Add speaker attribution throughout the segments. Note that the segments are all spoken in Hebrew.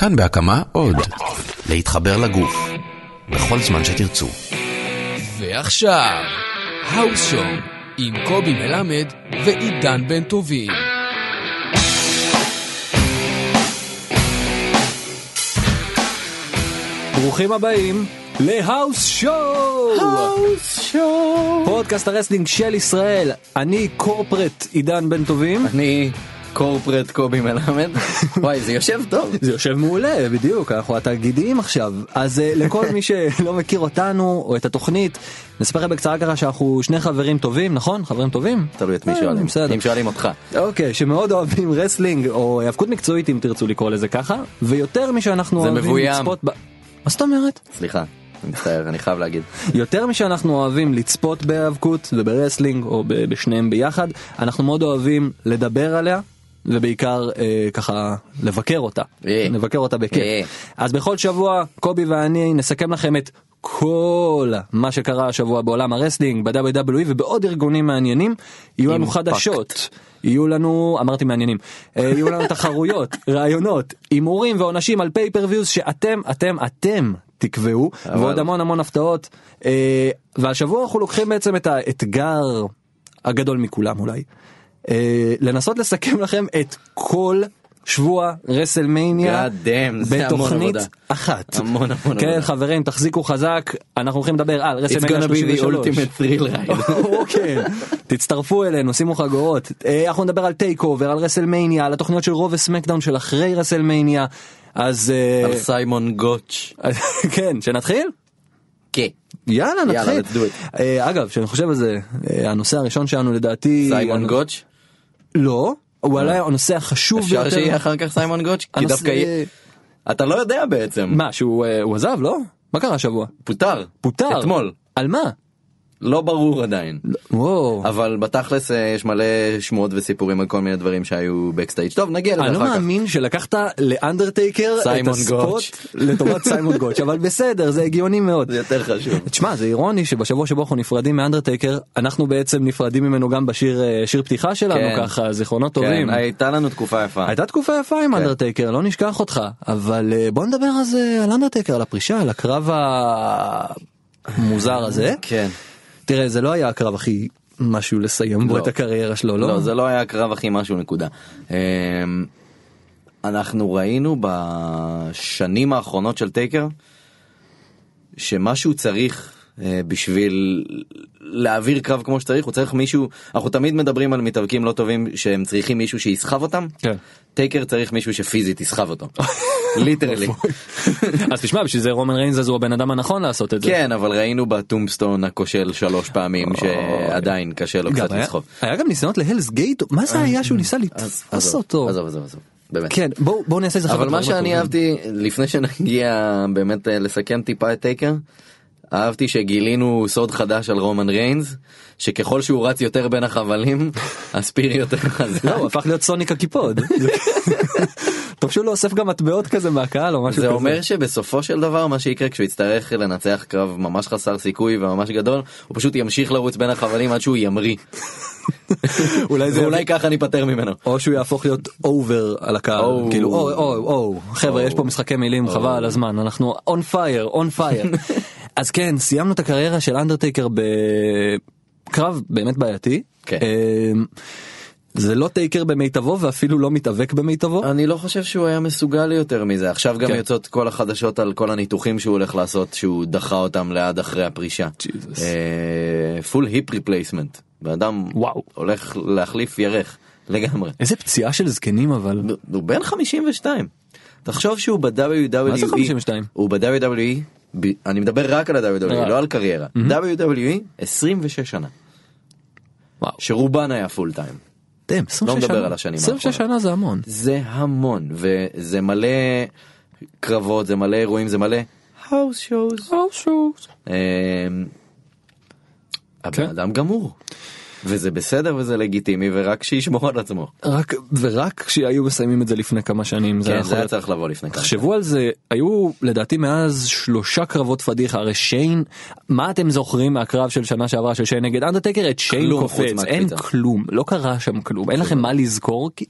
Speaker 1: כאן בהקמה עוד. להתחבר לגוף. בכל זמן שתרצו.
Speaker 2: ועכשיו, האוס שואו עם קובי מלמד ועידן בן טובים.
Speaker 3: ברוכים הבאים להאוס שואו!
Speaker 4: האוס שואו!
Speaker 3: פודקאסט הרסלינג של ישראל, אני קורפרט עידן בן טובים.
Speaker 4: אני קורפרט קובי מלמד. וואי, זה יושב טוב.
Speaker 3: זה יושב מעולה, בדיוק, אנחנו התאגידיים עכשיו. אז אה, לכל מי שלא מכיר אותנו או את התוכנית, נספר לכם בקצרה ככה שאנחנו שני חברים טובים, נכון? חברים טובים?
Speaker 4: תלוי את מי
Speaker 3: אה,
Speaker 4: שואלים.
Speaker 3: בסדר.
Speaker 4: אם שואלים אותך.
Speaker 3: אוקיי, שמאוד אוהבים רסלינג או היאבקות מקצועית אם תרצו לקרוא לזה ככה, ויותר משאנחנו
Speaker 4: זה
Speaker 3: אוהבים
Speaker 4: מבוים.
Speaker 3: לצפות ב... מה זאת אומרת?
Speaker 4: סליחה, אני מצטער, אני חייב להגיד.
Speaker 3: יותר משאנחנו אוהבים לצפות בהיאבקות וברסלינג או ב- בשניהם ביחד אנחנו מאוד אוהבים לדבר עליה ובעיקר אה, ככה לבקר אותה
Speaker 4: אה.
Speaker 3: לבקר אותה
Speaker 4: אה.
Speaker 3: בכיף אז בכל שבוע קובי ואני נסכם לכם את כל מה שקרה השבוע בעולם הרסלינג ב-WWE ובעוד ארגונים מעניינים יהיו לנו
Speaker 4: אימפקט.
Speaker 3: חדשות. יהיו לנו אמרתי מעניינים אה, יהיו לנו תחרויות רעיונות הימורים ועונשים על פייפרוויוז שאתם אתם אתם תקבעו
Speaker 4: אבל-
Speaker 3: ועוד המון המון הפתעות אה, והשבוע אנחנו לוקחים בעצם את האתגר הגדול מכולם אולי אה, לנסות לסכם לכם את כל שבוע רסלמניה
Speaker 4: God damn, זה המון
Speaker 3: בתוכנית
Speaker 4: עבודה.
Speaker 3: אחת
Speaker 4: המון המון
Speaker 3: כן
Speaker 4: עבודה.
Speaker 3: חברים תחזיקו חזק אנחנו הולכים לדבר על
Speaker 4: It's
Speaker 3: רסלמניה
Speaker 4: gonna be the
Speaker 3: 33.
Speaker 4: ultimate thrill ride.
Speaker 3: אוקיי, תצטרפו אלינו, שימו חגורות. אה, אנחנו נדבר על טייק אובר, על רסלמניה, על התוכניות של רוב וסמקדאון של אחרי רסלמניה. אז אה,
Speaker 4: על סיימון גוטש.
Speaker 3: כן, שנתחיל?
Speaker 4: כן.
Speaker 3: יאללה
Speaker 4: יאללה,
Speaker 3: נתחיל.
Speaker 4: let's do
Speaker 3: אה, אגב, כשאני חושב על זה, אה, הנושא הראשון שלנו לדעתי... אה,
Speaker 4: סיימון גוטש?
Speaker 3: לא, הוא עלה הנושא החשוב ביותר.
Speaker 4: אפשר שיהיה אחר כך סיימון גוטש? כי
Speaker 3: הנושא-
Speaker 4: דווקא יהיה... אתה לא יודע בעצם.
Speaker 3: אה, מה, שהוא אה, הוא עזב, לא? מה קרה השבוע?
Speaker 4: פוטר.
Speaker 3: פוטר.
Speaker 4: אתמול.
Speaker 3: על מה?
Speaker 4: לא ברור עדיין.
Speaker 3: וואו.
Speaker 4: אבל בתכלס אה, יש מלא שמועות וסיפורים על כל מיני דברים שהיו בקסטייג'. טוב נגיע
Speaker 3: אני
Speaker 4: לזה
Speaker 3: לא
Speaker 4: אחר כך.
Speaker 3: מאמין שלקחת לאנדרטייקר את
Speaker 4: סיימון
Speaker 3: הספוט
Speaker 4: גוטש.
Speaker 3: לטובת סיימון גוטש אבל בסדר זה הגיוני מאוד.
Speaker 4: זה יותר חשוב.
Speaker 3: תשמע זה אירוני שבשבוע שבו אנחנו נפרדים מאנדרטייקר אנחנו בעצם נפרדים ממנו גם בשיר אה, שיר פתיחה שלנו
Speaker 4: כן.
Speaker 3: ככה זיכרונות טובים.
Speaker 4: כן, הייתה לנו תקופה יפה.
Speaker 3: הייתה תקופה יפה עם אנדרטייקר לא נשכח אותך אבל אה, בוא נדבר אז אה, על אנדרטייקר על הפרישה על הקרב המוזר הזה.
Speaker 4: כן.
Speaker 3: תראה זה לא היה הקרב הכי משהו לסיים בו
Speaker 4: לא.
Speaker 3: את הקריירה שלו
Speaker 4: לא,
Speaker 3: לא?
Speaker 4: זה לא היה הקרב הכי משהו נקודה. אמ, אנחנו ראינו בשנים האחרונות של טייקר שמה שהוא צריך אה, בשביל להעביר קרב כמו שצריך הוא צריך מישהו אנחנו תמיד מדברים על מתאבקים לא טובים שהם צריכים מישהו שיסחב אותם
Speaker 3: כן.
Speaker 4: טייקר צריך מישהו שפיזית יסחב אותו ליטרלי
Speaker 3: אז תשמע בשביל זה רומן ריינז אז הוא הבן אדם הנכון לעשות את זה.
Speaker 4: כן אבל ראינו בטומבסטון הכושל שלוש פעמים שעדיין קשה לו
Speaker 3: גם
Speaker 4: קצת
Speaker 3: היה-
Speaker 4: לסחוב.
Speaker 3: היה גם ניסיונות להלס גייט מה זה היה שהוא ניסה לתפוס
Speaker 4: אה, עזוב,
Speaker 3: אותו
Speaker 4: עזוב עזוב עזוב באמת.
Speaker 3: כן בואו בואו נעשה את זה אחר
Speaker 4: אבל
Speaker 3: כך
Speaker 4: מה
Speaker 3: בדברים
Speaker 4: שאני
Speaker 3: הטובים.
Speaker 4: אהבתי לפני שנגיע באמת אה, לסכם טיפה את טייקר. אהבתי שגילינו סוד חדש על רומן ריינס שככל שהוא רץ יותר בין החבלים הספיר יותר
Speaker 3: לא
Speaker 4: חזק
Speaker 3: הוא הפך להיות סוניק הקיפוד. זה- טוב שהוא לא אוסף גם מטבעות כזה מהקהל או משהו
Speaker 4: זה
Speaker 3: כזה.
Speaker 4: אומר שבסופו של דבר מה שיקרה כשהוא יצטרך לנצח קרב ממש חסר סיכוי וממש גדול הוא פשוט ימשיך לרוץ בין החבלים עד שהוא ימריא
Speaker 3: אולי זה
Speaker 4: ואולי ככה ניפטר ממנו.
Speaker 3: או שהוא יהפוך להיות אובר על הקהל
Speaker 4: או.
Speaker 3: כאילו או או או חברה
Speaker 4: או.
Speaker 3: יש פה משחקי מילים חבל על הזמן אנחנו און פייר און פייר אז כן סיימנו את הקריירה של אנדרטייקר בקרב באמת בעייתי.
Speaker 4: כן.
Speaker 3: אמ, זה לא טייקר במיטבו ואפילו לא מתאבק במיטבו.
Speaker 4: אני לא חושב שהוא היה מסוגל יותר מזה עכשיו גם
Speaker 3: כן.
Speaker 4: יוצאות כל החדשות על כל הניתוחים שהוא הולך לעשות שהוא דחה אותם ליד אחרי הפרישה.
Speaker 3: Jesus.
Speaker 4: אה. פול היפ ריפלייסמנט. בן אדם
Speaker 3: וואו.
Speaker 4: הולך להחליף ירך לגמרי.
Speaker 3: איזה פציעה של זקנים אבל.
Speaker 4: הוא בן 52. תחשוב שהוא ב-WWE.
Speaker 3: מה זה 52?
Speaker 4: הוא ב-WWE. ב- אני מדבר רק על ה-WWE
Speaker 3: רק.
Speaker 4: לא על קריירה. WWE 26 שנה.
Speaker 3: וואו.
Speaker 4: שרובן היה פול טיים.
Speaker 3: דם, 26
Speaker 4: לא מדבר
Speaker 3: שנה.
Speaker 4: על השנים
Speaker 3: 26
Speaker 4: האחרונות.
Speaker 3: שנה זה המון.
Speaker 4: זה המון וזה מלא קרבות זה מלא אירועים זה מלא האוס שואוז. הבן
Speaker 3: כן.
Speaker 4: אדם גמור. וזה בסדר וזה לגיטימי ורק שישמור על עצמו.
Speaker 3: רק ורק כשהיו מסיימים את זה לפני כמה שנים זה היה
Speaker 4: כן
Speaker 3: יכול
Speaker 4: זה היה
Speaker 3: להיות.
Speaker 4: צריך לבוא לפני כמה.
Speaker 3: תחשבו על זה היו לדעתי מאז שלושה קרבות פדיחה הרי שיין מה אתם זוכרים מהקרב של שנה שעברה של שיין נגד אנדרטקר את שיין
Speaker 4: כלום חוץ
Speaker 3: קופץ אין
Speaker 4: מהקפיצה.
Speaker 3: כלום לא קרה שם כלום אין לכם מה לזכור כי,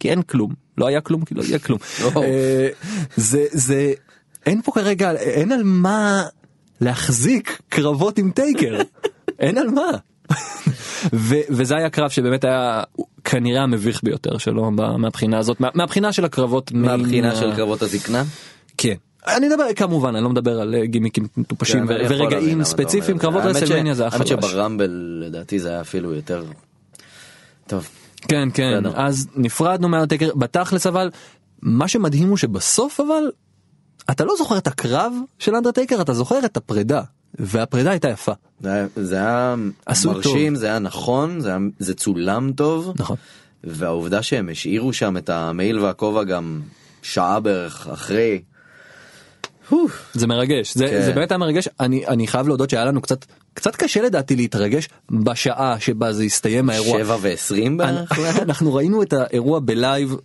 Speaker 3: כי אין כלום לא היה כלום כי לא היה כלום. אה, זה זה אין פה כרגע אין על מה להחזיק קרבות עם טייקר אין על מה. ו- וזה היה קרב שבאמת היה כנראה המביך ביותר שלו מה- מהבחינה הזאת מה- מהבחינה של הקרבות
Speaker 4: מהבחינה
Speaker 3: מן ה-
Speaker 4: של קרבות הזקנה.
Speaker 3: כן. אני מדבר כמובן אני לא מדבר על אה, גימיקים מטופשים
Speaker 4: כן,
Speaker 3: ו-
Speaker 4: אבל יכול להבין למה
Speaker 3: ורגעים
Speaker 4: אתה אומר
Speaker 3: ספציפיים
Speaker 4: את
Speaker 3: קרבות
Speaker 4: האמת ש-
Speaker 3: רסלמניה זה אחלה.
Speaker 4: האמת שברמבל לדעתי זה היה אפילו יותר. טוב.
Speaker 3: כן כן
Speaker 4: בסדר.
Speaker 3: אז נפרדנו מהאנדרטקר בתכלס אבל מה שמדהים הוא שבסוף אבל אתה לא זוכר את הקרב של אנדרטייקר אתה זוכר את הפרידה והפרידה הייתה יפה
Speaker 4: זה היה- זה היה
Speaker 3: עשו
Speaker 4: מרשים,
Speaker 3: טוב.
Speaker 4: זה היה נכון, זה היה- זה צולם טוב.
Speaker 3: נכון.
Speaker 4: והעובדה שהם השאירו שם את המעיל והכובע גם שעה בערך אחרי.
Speaker 3: זה מרגש זה,
Speaker 4: כן.
Speaker 3: זה באמת היה מרגש אני אני חייב להודות שהיה לנו קצת קצת קשה לדעתי להתרגש בשעה שבה זה הסתיים האירוע.
Speaker 4: שבע ועשרים בערך.
Speaker 3: אנ- אה, אנחנו ראינו את האירוע בלייב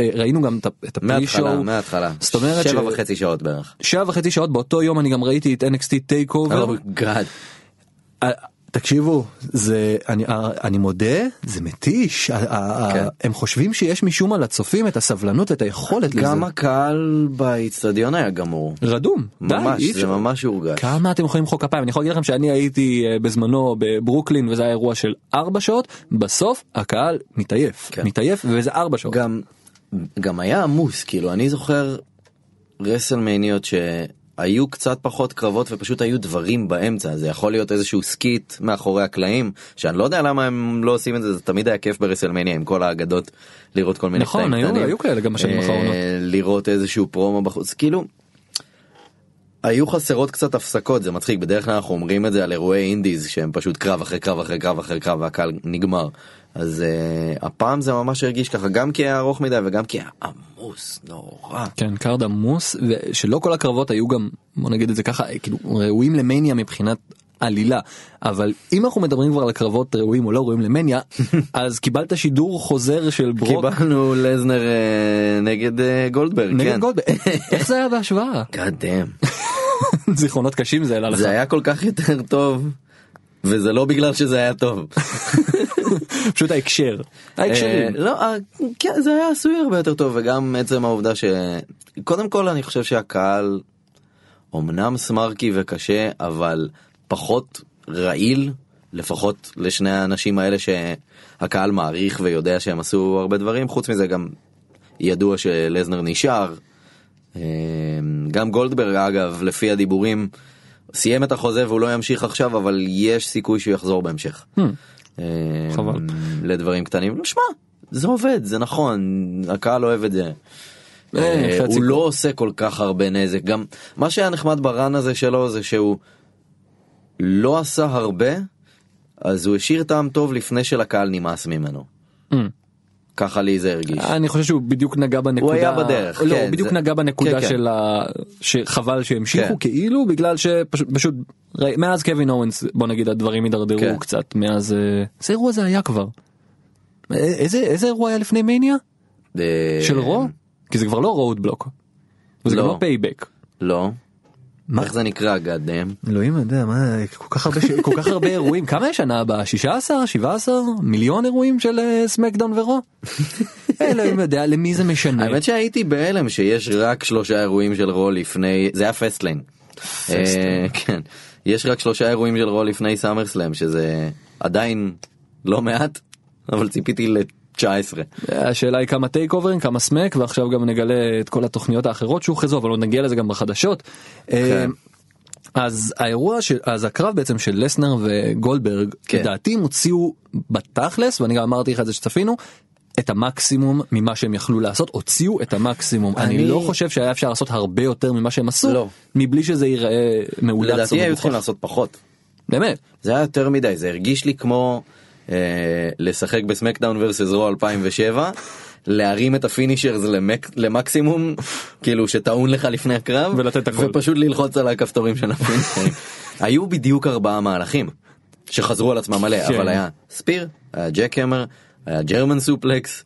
Speaker 3: אה, ראינו גם את ה- את הפרי
Speaker 4: מההתחלה,
Speaker 3: שואו
Speaker 4: מההתחלה.
Speaker 3: זאת אומרת
Speaker 4: שבע
Speaker 3: ש-
Speaker 4: וחצי שעות בערך.
Speaker 3: שעה וחצי שעות באותו יום אני גם ראיתי את NXT טייק אובר.
Speaker 4: לא גאד.
Speaker 3: אה, תקשיבו זה אני אה, אני מודה זה מתיש ה- ה- ה-
Speaker 4: כן.
Speaker 3: הם חושבים שיש משום מה לצופים את הסבלנות ואת היכולת לזה.
Speaker 4: גם הקהל באיצטדיון היה גמור.
Speaker 3: רדום די,
Speaker 4: ממש,
Speaker 3: אי
Speaker 4: זה
Speaker 3: אפשר.
Speaker 4: ממש הורגש.
Speaker 3: כמה אתם יכולים למחוא כפיים אני יכול להגיד לכם שאני הייתי אה, בזמנו בברוקלין וזה היה אירוע של 4 שעות בסוף הקהל מתעייף
Speaker 4: כן.
Speaker 3: מתעייף וזה 4 שעות.
Speaker 4: גם, גם היה עמוס, כאילו, אני זוכר רסלמניות שהיו קצת פחות קרבות ופשוט היו דברים באמצע, זה יכול להיות איזשהו סקיט מאחורי הקלעים, שאני לא יודע למה הם לא עושים את זה, זה תמיד היה כיף ברסלמניה עם כל האגדות, לראות כל מיני
Speaker 3: נכון,
Speaker 4: קטעים
Speaker 3: היו-
Speaker 4: קטנים.
Speaker 3: היו כאלה גם בשנים
Speaker 4: אה,
Speaker 3: האחרונות.
Speaker 4: לראות איזשהו פרומו בחוץ, כאילו... היו חסרות קצת הפסקות זה מצחיק בדרך כלל אנחנו אומרים את זה על אירועי אינדיז שהם פשוט קרב אחרי קרב אחרי קרב אחרי קרב והקהל נגמר אז uh, הפעם זה ממש הרגיש ככה גם כי היה ארוך מדי וגם כי היה עמוס נורא.
Speaker 3: כן קארד עמוס ושלא כל הקרבות היו גם בוא נגיד את זה ככה כאילו ראויים למניה מבחינת עלילה אבל אם אנחנו מדברים כבר על הקרבות ראויים או לא ראויים למניה אז קיבלת שידור חוזר של ברוק
Speaker 4: קיבלנו לזנר אה, נגד אה, גולדברג
Speaker 3: נגד
Speaker 4: כן.
Speaker 3: גולדברג איך זה היה בהשוואה
Speaker 4: God damn.
Speaker 3: זיכרונות קשים זה העלה לך
Speaker 4: זה היה כל כך יותר טוב וזה לא בגלל שזה היה טוב.
Speaker 3: פשוט ההקשר
Speaker 4: אה,
Speaker 3: ההקשרים
Speaker 4: לא, אה, כן, זה היה עשוי הרבה יותר טוב וגם עצם העובדה ש... קודם כל אני חושב שהקהל אמנם סמרקי וקשה אבל פחות רעיל לפחות לשני האנשים האלה שהקהל מעריך ויודע שהם עשו הרבה דברים חוץ מזה גם ידוע שלזנר נשאר. אה, גם גולדברג אגב לפי הדיבורים סיים את החוזה והוא לא ימשיך עכשיו אבל יש סיכוי שהוא יחזור בהמשך. אה,
Speaker 3: חבל.
Speaker 4: לדברים קטנים. לא, שמע, זה עובד, זה נכון, הקהל אוהב את זה.
Speaker 3: אה,
Speaker 4: אה,
Speaker 3: חצי
Speaker 4: הוא לא עושה כל כך הרבה נזק. גם מה שהיה נחמד ברן הזה שלו זה שהוא לא עשה הרבה, אז הוא השאיר טעם טוב לפני שלקהל נמאס ממנו.
Speaker 3: Mm.
Speaker 4: ככה לי זה הרגיש.
Speaker 3: אני חושב שהוא בדיוק נגע בנקודה
Speaker 4: הוא היה בדרך,
Speaker 3: לא
Speaker 4: כן,
Speaker 3: הוא בדיוק
Speaker 4: זה-
Speaker 3: נגע בנקודה
Speaker 4: כן, כן.
Speaker 3: של ה... שחבל
Speaker 4: כן.
Speaker 3: שהמשיכו כאילו בגלל שפשוט פשוט ראי- מאז קווין אורנס בוא נגיד הדברים
Speaker 4: כן.
Speaker 3: הידרדרו קצת מאז אה, איזה אירוע זה היה כבר. אה, איזה איזה אירוע היה לפני מניה
Speaker 4: אה,
Speaker 3: של רו כי זה כבר לא רוד בלוק. וזה גם
Speaker 4: לא.
Speaker 3: לא פייבק.
Speaker 4: לא.
Speaker 3: מה?
Speaker 4: איך זה נקרא גאדם?
Speaker 3: אלוהים יודע מה כל כך הרבה ש- כל כך הרבה אירועים כמה יש שנה הבאה 16 17 מיליון אירועים של אה, סמקדאון ורו. אלוהים יודע למי זה משנה.
Speaker 4: האמת שהייתי בהלם שיש רק שלושה אירועים של רו לפני זה היה פסטליין. אה, כן. יש רק שלושה אירועים של רו לפני סאמר סלאם שזה עדיין לא מעט אבל ציפיתי ל-19.
Speaker 3: השאלה היא כמה טייק אוברים כמה סמק ועכשיו גם נגלה את כל התוכניות האחרות שהוכרזו אבל עוד נגיע לזה גם בחדשות.
Speaker 4: כן.
Speaker 3: אה, אז האירוע של אז הקרב בעצם של לסנר וגולדברג
Speaker 4: כן.
Speaker 3: לדעתי הם הוציאו בתכלס ואני גם אמרתי לך את זה שצפינו. את המקסימום ממה שהם יכלו לעשות הוציאו את המקסימום אני,
Speaker 4: אני-
Speaker 3: לא חושב שהיה אפשר לעשות הרבה יותר ממה שהם עשו
Speaker 4: לא.
Speaker 3: מבלי שזה ייראה מאולץ או
Speaker 4: לדעתי היו
Speaker 3: מגוחך.
Speaker 4: צריכים לעשות פחות.
Speaker 3: באמת
Speaker 4: זה היה יותר מדי זה הרגיש לי כמו אה, לשחק בסמקדאון ורסס רו 2007 להרים את הפינישרס למק, למקסימום כאילו שטעון לך לפני הקרב
Speaker 3: ולתת הכל.
Speaker 4: ופשוט ללחוץ על הכפתורים של הפינישרים. היו בדיוק ארבעה מהלכים שחזרו על עצמם מלא
Speaker 3: כן.
Speaker 4: אבל היה ספיר היה ג'ק המר היה ג'רמן סופלקס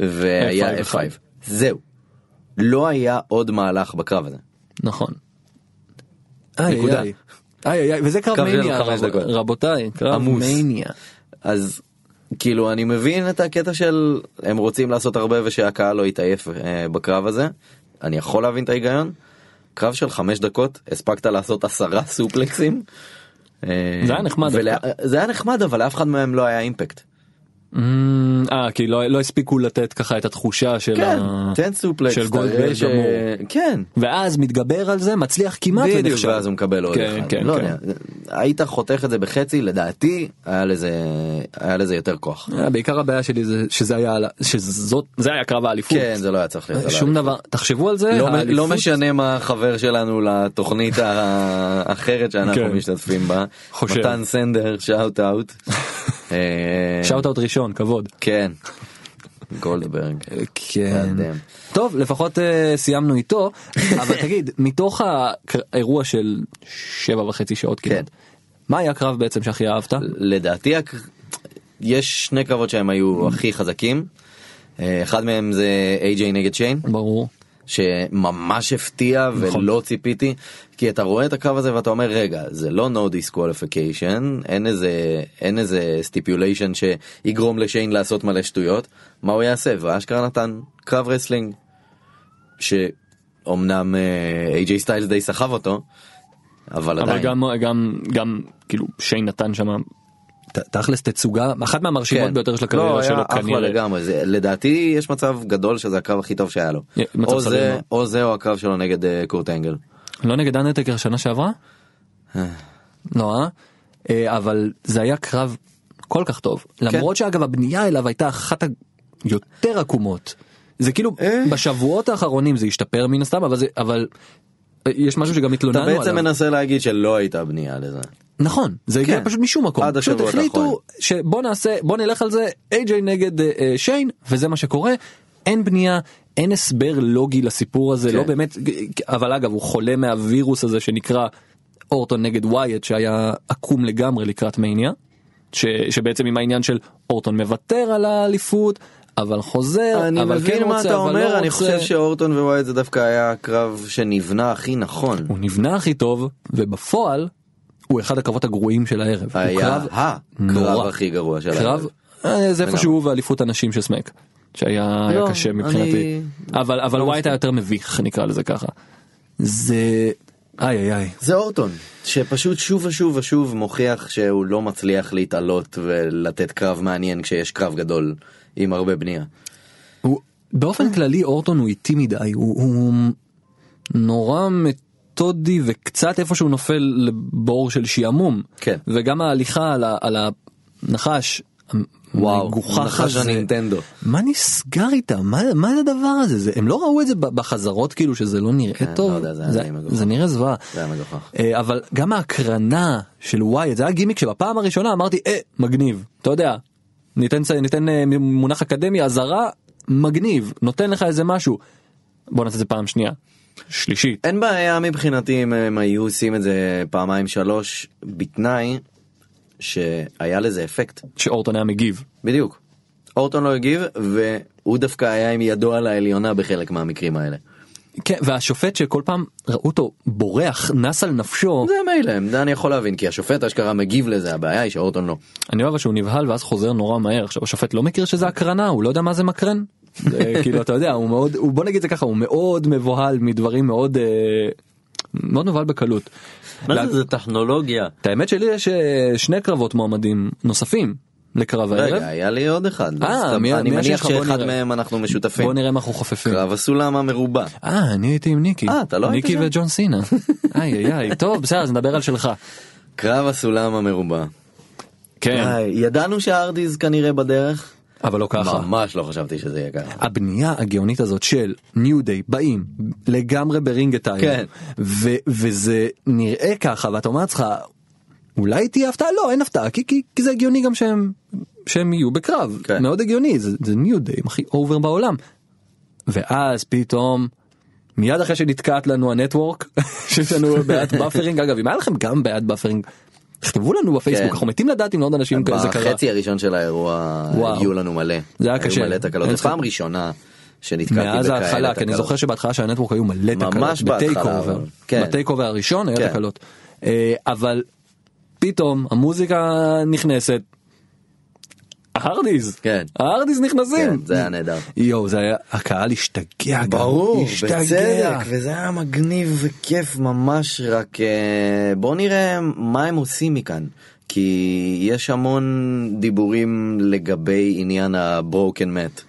Speaker 4: והיה
Speaker 3: F5.
Speaker 4: F5 זהו. לא היה עוד מהלך בקרב הזה.
Speaker 3: נכון. איי,
Speaker 4: נקודה.
Speaker 3: איי. איי, איי, איי, וזה קרב
Speaker 4: קרב של
Speaker 3: מניה
Speaker 4: חמש
Speaker 3: רב-
Speaker 4: דקות.
Speaker 3: רבותיי קרב
Speaker 4: עמוס.
Speaker 3: מניה.
Speaker 4: אז כאילו אני מבין את הקטע של הם רוצים לעשות הרבה ושהקהל לא יתעייף אה, בקרב הזה. אני יכול להבין את ההיגיון. קרב של חמש דקות הספקת לעשות עשרה סופלקסים. אה,
Speaker 3: זה היה נחמד.
Speaker 4: ולה... זה היה נחמד אבל לאף אחד מהם לא היה אימפקט.
Speaker 3: אה, כי לא לא הספיקו לתת ככה את התחושה של
Speaker 4: כן,
Speaker 3: ה...
Speaker 4: תן סופלקס.
Speaker 3: של
Speaker 4: תראה
Speaker 3: גולדברג
Speaker 4: ש-
Speaker 3: גמור.
Speaker 4: כן.
Speaker 3: ואז מתגבר על זה, מצליח כמעט
Speaker 4: בדיוק,
Speaker 3: ונכשל.
Speaker 4: ואז הוא מקבל עוד
Speaker 3: כן,
Speaker 4: אחד.
Speaker 3: כן,
Speaker 4: לא
Speaker 3: כן.
Speaker 4: יודע. היית חותך את זה בחצי, לדעתי היה לזה היה לזה יותר כוח.
Speaker 3: אה, בעיקר הבעיה שלי זה שזה היה, שזאת, זה היה קרב האליפות. אה,
Speaker 4: כן, זה לא היה צריך להיות. על
Speaker 3: שום דבר, תחשבו על זה,
Speaker 4: לא, מ- לא
Speaker 3: האליפות-
Speaker 4: משנה מה החבר שלנו לתוכנית האחרת שאנחנו
Speaker 3: כן.
Speaker 4: משתתפים בה.
Speaker 3: חושב.
Speaker 4: מתן סנדר, שאוט אאוט.
Speaker 3: שאוט אאוט ראשון, כבוד.
Speaker 4: כן. גולדברג.
Speaker 3: כן.
Speaker 4: אדם.
Speaker 3: טוב, לפחות אה, סיימנו איתו, אבל תגיד, מתוך הק- האירוע של שבע וחצי שעות
Speaker 4: כן.
Speaker 3: כמעט, מה היה הקרב בעצם שהכי אהבת?
Speaker 4: לדעתי הק- יש שני קרבות שהם היו הכי חזקים. אה, אחד מהם זה איי-ג'יי נגד שיין.
Speaker 3: ברור.
Speaker 4: שממש הפתיע
Speaker 3: נכון.
Speaker 4: ולא ציפיתי כי אתה רואה את הקרב הזה ואתה אומר רגע זה לא no disqualification אין איזה אין איזה סטיפוליישן שיגרום לשיין לעשות מלא שטויות מה הוא יעשה ואשכרה נתן קרב רסלינג שאומנם אה, איי-ג'יי סטיילס די סחב אותו אבל
Speaker 3: אבל
Speaker 4: עדיין
Speaker 3: גם, גם, גם, כאילו, שיין נתן כן. שם, ת- תכלס תצוגה, אחת מהמרשימות ביותר של
Speaker 4: לא,
Speaker 3: הקריירה
Speaker 4: היה
Speaker 3: שלו
Speaker 4: אחלה
Speaker 3: כנראה.
Speaker 4: לגמרי זה לדעתי יש מצב גדול שזה הקרב הכי טוב שהיה לו
Speaker 3: יה- מצב
Speaker 4: או
Speaker 3: סביר
Speaker 4: זה
Speaker 3: מאוד.
Speaker 4: או זה או הקרב שלו נגד אה, קורט אנגל.
Speaker 3: לא נגד אנטקר שנה שעברה? לא, אה? אה? אבל זה היה קרב כל כך טוב. למרות שאגב הבנייה אליו הייתה אחת היותר עקומות. זה כאילו בשבועות האחרונים זה השתפר מן הסתם אבל זה אבל אה, יש משהו שגם
Speaker 4: אתה
Speaker 3: התלוננו עליו.
Speaker 4: בעצם מנסה להגיד שלא הייתה בנייה לזה.
Speaker 3: נכון זה הגיע
Speaker 4: כן.
Speaker 3: פשוט משום מקום.
Speaker 4: עד
Speaker 3: פשוט
Speaker 4: השבועות האחרונים.
Speaker 3: החליטו שבוא נעשה בוא נלך על זה איי-ג'יי נגד אה, אה, שיין וזה מה שקורה אין בנייה. אין הסבר לוגי לסיפור הזה
Speaker 4: כן.
Speaker 3: לא באמת אבל אגב הוא חולה מהווירוס הזה שנקרא אורטון נגד ווייט שהיה עקום לגמרי לקראת מניה ש, שבעצם עם העניין של אורטון מוותר על האליפות אבל חוזר
Speaker 4: אני
Speaker 3: אבל
Speaker 4: מבין
Speaker 3: כן
Speaker 4: מה
Speaker 3: רוצה,
Speaker 4: אתה
Speaker 3: אבל לא
Speaker 4: אומר, אני
Speaker 3: רוצה.
Speaker 4: חושב שאורטון ווייד זה דווקא היה הקרב שנבנה הכי נכון.
Speaker 3: הוא נבנה הכי טוב ובפועל הוא אחד הקרבות הגרועים של הערב. הוא
Speaker 4: היה
Speaker 3: קרב
Speaker 4: הקרב
Speaker 3: נורא.
Speaker 4: הכי גרוע של
Speaker 3: קרב
Speaker 4: הערב.
Speaker 3: אה, זה איפה
Speaker 4: לגמרי.
Speaker 3: שהוא ואליפות הנשים של סמק שהיה היה
Speaker 4: לא,
Speaker 3: קשה
Speaker 4: אני- לא
Speaker 3: מבחינתי אבל אבל ווייט היה יותר מביך נקרא לזה ככה. זה איי איי איי
Speaker 4: זה אורטון, שפשוט שוב ושוב ושוב מוכיח שהוא לא מצליח להתעלות ולתת קרב מעניין כשיש קרב גדול עם הרבה בנייה.
Speaker 3: הוא באופן כללי אורטון הוא איטי מדי הוא, הוא נורא מתודי וקצת איפה שהוא נופל לבור של שעמום
Speaker 4: כן.
Speaker 3: וגם ההליכה על, ה, על הנחש.
Speaker 4: וואו,
Speaker 3: המגוחך
Speaker 4: נחש
Speaker 3: הזה.
Speaker 4: הנינטנדו.
Speaker 3: מה נסגר איתם מה, מה זה הדבר הזה זה הם לא ראו את זה ב- בחזרות כאילו שזה לא נראה
Speaker 4: כן,
Speaker 3: טוב
Speaker 4: לא יודע, זה היה
Speaker 3: זה,
Speaker 4: די מגוחך.
Speaker 3: זה נראה זוועה
Speaker 4: זה היה מגוחך.
Speaker 3: אה, אבל גם ההקרנה של וואי זה היה גימיק שבפעם הראשונה אמרתי אה, מגניב אתה יודע ניתן צ- ניתן אה, מונח אקדמי אזהרה מגניב נותן לך איזה משהו בוא נעשה את זה פעם שנייה שלישית
Speaker 4: אין בעיה מבחינתי אם הם היו עושים את זה פעמיים שלוש בתנאי שהיה לזה אפקט.
Speaker 3: שאורטון היה מגיב
Speaker 4: בדיוק. אורטון לא הגיב והוא דווקא היה עם ידו על העליונה בחלק מהמקרים האלה.
Speaker 3: כן והשופט שכל פעם ראו אותו בורח נס על נפשו
Speaker 4: זה מילא, זה אני יכול להבין כי השופט אשכרה מגיב לזה הבעיה היא שאורטון לא.
Speaker 3: אני אוהב אבל שהוא נבהל ואז חוזר נורא מהר עכשיו השופט לא מכיר שזה הקרנה הוא לא יודע מה זה מקרן. זה, כאילו אתה יודע הוא מאוד הוא בוא נגיד זה ככה הוא מאוד מבוהל מדברים מאוד אה, מאוד מבוהל בקלות. לה-
Speaker 4: טכנולוגיה?
Speaker 3: את האמת שלי יש אה, שני קרבות מועמדים נוספים לקרב הערב.
Speaker 4: רגע היה לי עוד אחד.
Speaker 3: אה,
Speaker 4: אז אתה-
Speaker 3: מי-
Speaker 4: אני
Speaker 3: מי
Speaker 4: מניח
Speaker 3: השלך? בוא
Speaker 4: שאחד
Speaker 3: נראה.
Speaker 4: מהם אנחנו משותפים.
Speaker 3: בוא נראה מה אנחנו חופפים.
Speaker 4: קרב הסולם המרובע.
Speaker 3: אה אני הייתי עם ניקי.
Speaker 4: אה, אתה לא היית
Speaker 3: ניקי
Speaker 4: שם?
Speaker 3: וג'ון סינה. איי איי איי טוב בסדר אז נדבר על שלך.
Speaker 4: קרב הסולם המרובע.
Speaker 3: כן.
Speaker 4: איי, ידענו שהארדיז כנראה בדרך.
Speaker 3: אבל לא ככה.
Speaker 4: ממש לא חשבתי שזה יהיה ככה.
Speaker 3: הבנייה הגאונית הזאת של ניו דיי באים לגמרי ברינג הטיים
Speaker 4: כן.
Speaker 3: ו- וזה נראה ככה ואתה אומר לעצמך אולי תהיה הפתעה לא אין הפתעה כי, כי, כי זה הגיוני גם שהם שהם יהיו בקרב
Speaker 4: כן.
Speaker 3: מאוד הגיוני זה, זה ניו דיי הכי אובר בעולם. ואז פתאום מיד אחרי שנתקעת לנו הנטוורק שיש לנו בעיית באפרינג אגב אם היה לכם גם בעיית באפרינג. תכתבו לנו בפייסבוק
Speaker 4: כן.
Speaker 3: אנחנו מתים לדעת אם לעוד אנשים זה קרה.
Speaker 4: בחצי הראשון של האירוע
Speaker 3: וואו.
Speaker 4: הגיעו לנו מלא.
Speaker 3: זה היה קשה.
Speaker 4: היו מלא תקלות.
Speaker 3: אין
Speaker 4: זו פעם ראשונה שנתקלתי בכאלה
Speaker 3: מאז
Speaker 4: תקלות.
Speaker 3: ההתחלה כי אני זוכר שבהתחלה של הנטוורק היו מלא
Speaker 4: ממש
Speaker 3: תקלות.
Speaker 4: בהתחלה,
Speaker 3: בטייק אובר.
Speaker 4: אבל, כן.
Speaker 3: בטייק אובר הראשון היה
Speaker 4: כן.
Speaker 3: תקלות. אה, אבל פתאום המוזיקה נכנסת. ההרדיז.
Speaker 4: כן.
Speaker 3: ההרדיז נכנסים.
Speaker 4: כן, זה היה נהדר.
Speaker 3: יואו, זה היה, הקהל השתגע גם. השתגע.
Speaker 4: בצדק, וזה היה מגניב וכיף ממש, רק אה, בוא נראה מה הם עושים מכאן. כי יש המון דיבורים לגבי עניין הברוקן מת.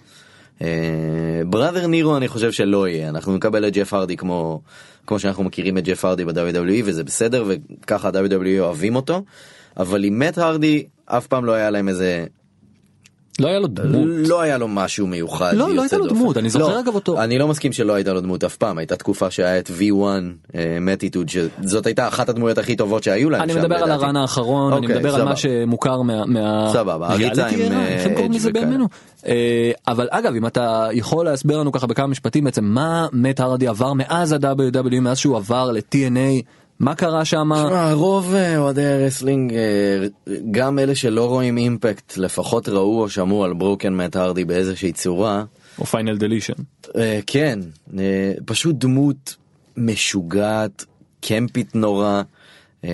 Speaker 4: בראדר נירו אני חושב שלא יהיה, אנחנו נקבל את ג'ף הרדי כמו, כמו שאנחנו מכירים את ג'ף הרדי ב-WWE וזה בסדר וככה ה-WWE אוהבים אותו, אבל עם מת הרדי אף פעם לא היה להם איזה
Speaker 3: לא היה לו דמות.
Speaker 4: לא היה לו משהו מיוחד.
Speaker 3: לא, לא
Speaker 4: יוצא
Speaker 3: הייתה לו
Speaker 4: דופן.
Speaker 3: דמות, אני זוכר,
Speaker 4: לא,
Speaker 3: אגב, אותו.
Speaker 4: אני לא מסכים שלא הייתה לו דמות אף פעם, הייתה תקופה שהיה את אה, V1 מטיטוד, שזאת הייתה אחת הדמויות הכי טובות שהיו להם
Speaker 3: אני
Speaker 4: שם,
Speaker 3: מדבר על
Speaker 4: לדעתי.
Speaker 3: הרן האחרון, אני
Speaker 4: אוקיי,
Speaker 3: מדבר על
Speaker 4: סבבה.
Speaker 3: מה שמוכר מה... מה-
Speaker 4: סבבה, הריצה
Speaker 3: ריאליטי
Speaker 4: עם,
Speaker 3: איראן,
Speaker 4: אה,
Speaker 3: איך הם קוראים
Speaker 4: אדג'
Speaker 3: לזה
Speaker 4: וכאלה.
Speaker 3: בימינו? אה, אבל אגב, אם אתה יכול להסביר לנו ככה בכמה משפטים בעצם, מה מת הרדי עבר מאז ה-WWE, מאז שהוא עבר ל-TNA, מה קרה שם?
Speaker 4: תשמע, רוב אה, אוהדי הרסלינג, אה, גם אלה שלא רואים אימפקט, לפחות ראו או שמעו על ברוקן מט הרדי באיזושהי צורה.
Speaker 3: או פיינל דלישן.
Speaker 4: אה, כן, אה, פשוט דמות משוגעת, קמפית נורא, אה,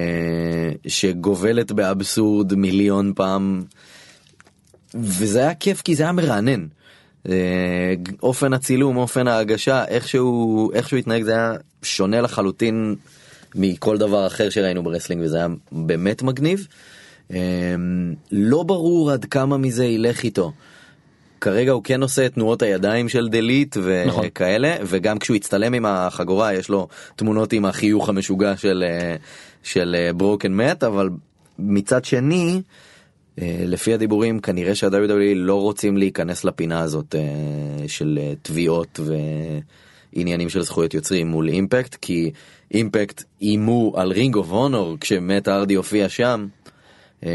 Speaker 4: שגובלת באבסורד מיליון פעם, וזה היה כיף כי זה היה מרענן. אה, אופן הצילום, אופן ההגשה, איך שהוא, איך שהוא התנהג זה היה שונה לחלוטין מכל דבר אחר שראינו ברסלינג וזה היה באמת מגניב. אה, לא ברור עד כמה מזה ילך איתו. כרגע הוא כן עושה את תנועות הידיים של דלית
Speaker 3: נכון.
Speaker 4: וכאלה נכון. וגם כשהוא הצטלם עם החגורה יש לו תמונות עם החיוך המשוגע של אה, של ברוקן מת אבל מצד שני אה, לפי הדיבורים כנראה שה-WWE לא רוצים להיכנס לפינה הזאת אה, של אה, תביעות ועניינים של זכויות יוצרים מול אימפקט כי אימפקט איימו על רינג אוף הונור כשמת ארדי הופיע שם. אה,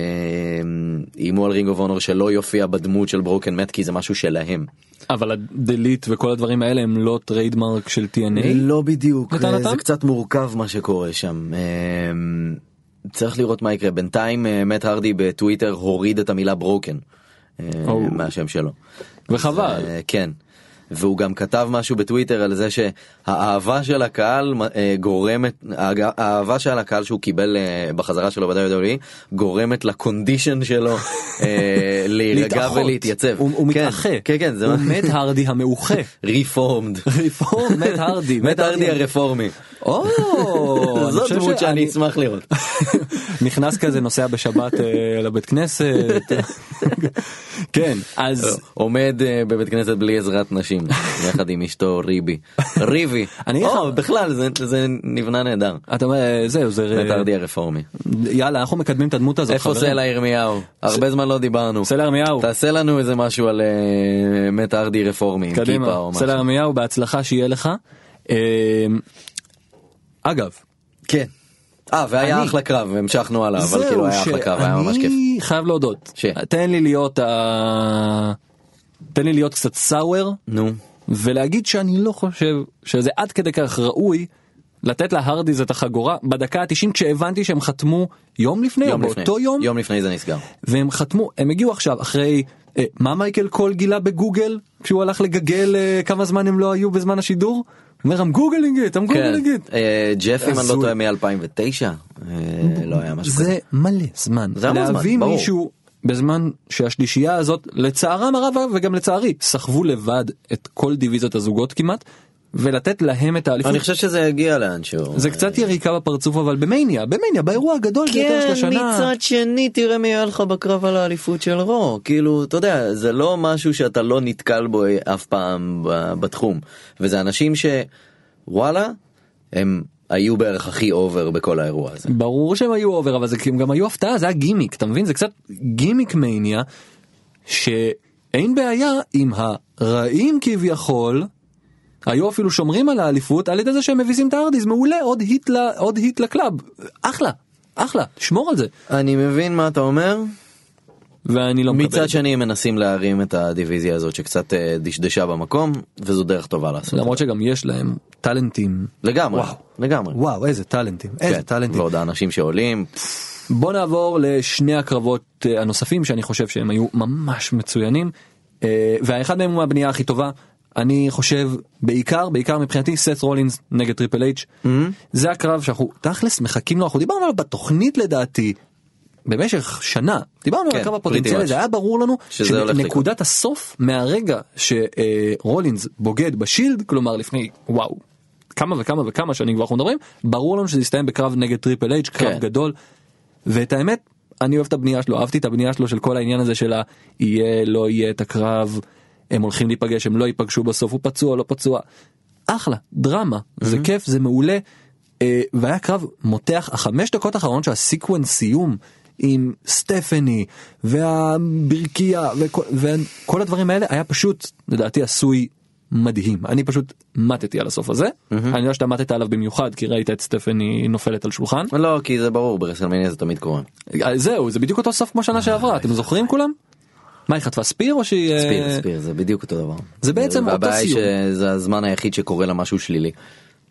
Speaker 4: איימו על רינג אוף הונור שלא יופיע בדמות של ברוקן מת כי זה משהו שלהם.
Speaker 3: אבל הדלית וכל הדברים האלה הם לא טריידמרק של TNA?
Speaker 4: לא בדיוק,
Speaker 3: לטענתם?
Speaker 4: זה קצת מורכב מה שקורה שם. אמ, צריך לראות מה יקרה. בינתיים אה, מת הרדי בטוויטר הוריד את המילה ברוקן אה,
Speaker 3: או.
Speaker 4: מהשם שלו.
Speaker 3: וחבל.
Speaker 4: אה, כן. והוא גם כתב משהו בטוויטר על זה שהאהבה של הקהל אה, גורמת, האג- האהבה של הקהל שהוא קיבל אה, בחזרה שלו ב-WWE גורמת לקונדישן שלו אה, להירגע
Speaker 3: להתאחות.
Speaker 4: ולהתייצב.
Speaker 3: הוא הוא
Speaker 4: כן,
Speaker 3: מתאחה.
Speaker 4: כן, כן, זה
Speaker 3: הוא מת הרדי המאוחה.
Speaker 4: ריפורמד.
Speaker 3: רפורם, מת הרדי.
Speaker 4: מת הרדי הרפורמי.
Speaker 3: או, אני
Speaker 4: זאת
Speaker 3: חושב
Speaker 4: דמות שאני
Speaker 3: שאני-
Speaker 4: אשמח לראות.
Speaker 3: נכנס כזה נוסע בשבת אה, לבית כנסת כן אז
Speaker 4: עומד אה, בבית כנסת בלי עזרת נשים, יחד עם אשתו ריבי. ריבי.
Speaker 3: אני אגיד לך-
Speaker 4: או, בכלל, זה- זה נבנה נהדר.
Speaker 3: אתה אומר אה, זהו זה
Speaker 4: מת הרדי הרפורמי.
Speaker 3: יאללה אנחנו מקדמים את הדמות הזאת
Speaker 4: איפה
Speaker 3: חברים.
Speaker 4: סלע ירמיהו? הרבה זמן לא דיברנו.
Speaker 3: סלע ירמיהו
Speaker 4: תעשה לנו איזה משהו על אה, מת הרדי רפורמי, עם כיפה
Speaker 3: קדימה
Speaker 4: או משהו.
Speaker 3: סלע ירמיהו בהצלחה שיהיה לך אה, אגב
Speaker 4: כן. אה, והיה
Speaker 3: אני-
Speaker 4: אחלה קרב, המשכנו הלאה, אבל
Speaker 3: זהו
Speaker 4: כאילו היה אחלה קרב, היה ממש כיף.
Speaker 3: שאני חייב להודות
Speaker 4: ש?
Speaker 3: תן לי להיות ה- תן לי להיות קצת סאואר
Speaker 4: נו.
Speaker 3: ולהגיד שאני לא חושב שזה עד כדי כך ראוי לתת להרדיז את החגורה בדקה ה-90 כשהבנתי שהם חתמו יום לפני
Speaker 4: יום
Speaker 3: או
Speaker 4: לפני.
Speaker 3: באותו יום,
Speaker 4: יום לפני זה נסגר.
Speaker 3: והם חתמו הם הגיעו עכשיו אחרי אה, מה מייקל קול גילה בגוגל כשהוא הלך לגגל אה, כמה זמן הם לא היו בזמן השידור. הוא אומר I'm googling it I'm
Speaker 4: כן.
Speaker 3: googling it.
Speaker 4: אה, ג'ף, אם אני לא
Speaker 3: הזוי.
Speaker 4: טועה, מ-2009, אה, לא היה משהו כזה.
Speaker 3: זה מלא זמן
Speaker 4: זה המון זמן,
Speaker 3: להביא
Speaker 4: ברור.
Speaker 3: מישהו בזמן שהשלישייה הזאת לצערם הרב וגם לצערי סחבו לבד את כל דיוויזיות הזוגות כמעט ולתת להם את האליפות.
Speaker 4: אני חושב שזה יגיע לאנשהו.
Speaker 3: זה קצת יריקה בפרצוף אבל במניה במניה באירוע הגדול ביותר של
Speaker 4: כן,
Speaker 3: השנה.
Speaker 4: מצד שני תראה מי היה לך בקרב על האליפות של רו. כאילו, אתה יודע, זה לא משהו שאתה לא נתקל בו אף פעם ב- בתחום. וזה אנשים שוואלה, הם היו בערך הכי אובר בכל האירוע הזה.
Speaker 3: ברור שהם היו אובר אבל זה כי הם גם היו הפתעה זה היה גימיק אתה מבין זה קצת גימיק מניה שאין בעיה עם הרעים כביכול. היו אפילו שומרים על האליפות על ידי זה שהם מביסים את הארדיז מעולה עוד היט, ל, עוד היט לקלאב אחלה אחלה שמור על זה
Speaker 4: אני מבין מה אתה אומר.
Speaker 3: ואני לא מקבל. את
Speaker 4: מצד
Speaker 3: זה.
Speaker 4: שני הם מנסים להרים את הדיוויזיה הזאת שקצת אה, דשדשה במקום, וזו דרך טובה לעשות.
Speaker 3: למרות שגם יש להם טאלנטים
Speaker 4: לגמרי,
Speaker 3: וואו.
Speaker 4: לגמרי.
Speaker 3: וואו איזה טאלנטים איזה
Speaker 4: כן,
Speaker 3: טאלנטים
Speaker 4: ועוד האנשים שעולים,
Speaker 3: בוא נעבור לשני הקרבות אה, הנוספים שאני חושב שהם היו ממש מצוינים אה, והאחד מהם הוא הבנייה הכי טובה אני חושב בעיקר בעיקר מבחינתי סט רולינס נגד
Speaker 4: Mm-hmm.
Speaker 3: טריפל אייץ' זה הקרב שאנחנו תכלס מחכים לו אנחנו דיברנו עליו בתוכנית לדעתי במשך שנה דיברנו
Speaker 4: כן,
Speaker 3: על הקרב
Speaker 4: pretty
Speaker 3: הפוטנציאלי
Speaker 4: much.
Speaker 3: זה היה ברור לנו
Speaker 4: שזה הולך לקרות.
Speaker 3: שנקודת הסוף מהרגע שרולינס בוגד בשילד כלומר לפני וואו כמה וכמה וכמה שנים כבר אנחנו מדברים ברור לנו שזה יסתיים בקרב נגד טריפל אייג' קרב
Speaker 4: כן.
Speaker 3: גדול ואת האמת אני אוהב את הבנייה שלו אהבתי את הבנייה שלו של כל העניין הזה של ה- יהיה לא יהיה את הקרב הם הולכים להיפגש הם לא ייפגשו בסוף הוא פצוע לא פצוע אחלה דרמה זה כיף זה מעולה אה, והיה קרב מותח החמש דקות האחרון של הסיקוונס סיום עם סטפני והברכייה וכל, וכל הדברים האלה היה פשוט לדעתי עשוי. מדהים אני פשוט מתתי על הסוף הזה אני יודע שאתה מתת עליו במיוחד כי ראית את סטפני נופלת על שולחן
Speaker 4: לא כי זה ברור ברסלמניה זה תמיד קורה.
Speaker 3: אה, זהו זה בדיוק אותו סוף כמו שנה שעברה אתם זוכרים כולם? מה היא חטפה אה, ספיר או שהיא
Speaker 4: ספיר
Speaker 3: אה,
Speaker 4: ספיר זה בדיוק אותו דבר.
Speaker 3: זה בעצם אותו
Speaker 4: והבעיה היא
Speaker 3: סיום.
Speaker 4: שזה הזמן היחיד שקורה לה משהו שלילי.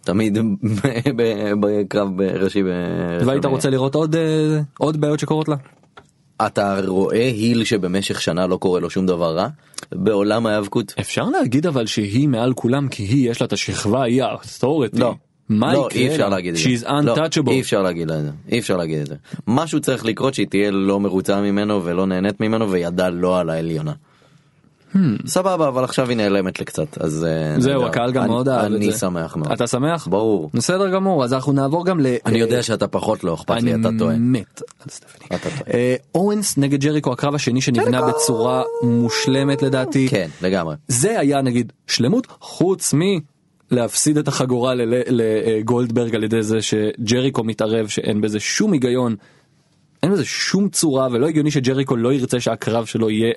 Speaker 4: תמיד ב- ב- בקרב ראשי.
Speaker 3: והיית רוצה לראות עוד אה, עוד בעיות שקורות לה?
Speaker 4: אתה רואה היל שבמשך שנה לא קורה לו שום דבר רע בעולם ההיאבקות.
Speaker 3: אפשר להגיד אבל שהיא מעל כולם כי היא יש לה את השכבה היא האסטורטי.
Speaker 4: לא.
Speaker 3: מה
Speaker 4: לא,
Speaker 3: יקרה?
Speaker 4: אי אפשר להגיד את זה.
Speaker 3: She's
Speaker 4: לא, אי
Speaker 3: untouchable.
Speaker 4: אפשר להגיד את זה. אי אפשר להגיד את זה. משהו צריך לקרות שהיא תהיה לא מרוצה ממנו ולא נהנית ממנו וידה לא על העליונה. סבבה אבל עכשיו היא נעלמת לקצת אז אה, אתה
Speaker 3: Hmm. זהו
Speaker 4: יודע,
Speaker 3: הקהל גם
Speaker 4: אני-
Speaker 3: מאוד אהב את זה.
Speaker 4: אני שמח מאוד.
Speaker 3: אתה שמח?
Speaker 4: ברור.
Speaker 3: בסדר גמור אז אנחנו נעבור גם ל... אה,
Speaker 4: אני יודע שאתה פחות לא אכפת לי אתה טועה.
Speaker 3: אני מת על סטפני.
Speaker 4: אתה טועה.
Speaker 3: אה, אורנס נגד ג'ריקו הקרב השני שנבנה בצורה מושלמת לדעתי.
Speaker 4: כן לגמרי.
Speaker 3: זה היה נגיד שלמות חוץ מלהפסיד את החגורה ל- לגולדברג על ידי זה שג'ריקו מתערב שאין בזה שום היגיון. אין בזה שום צורה ולא הגיוני שג'ריקו לא ירצה שהקרב שלו יהיה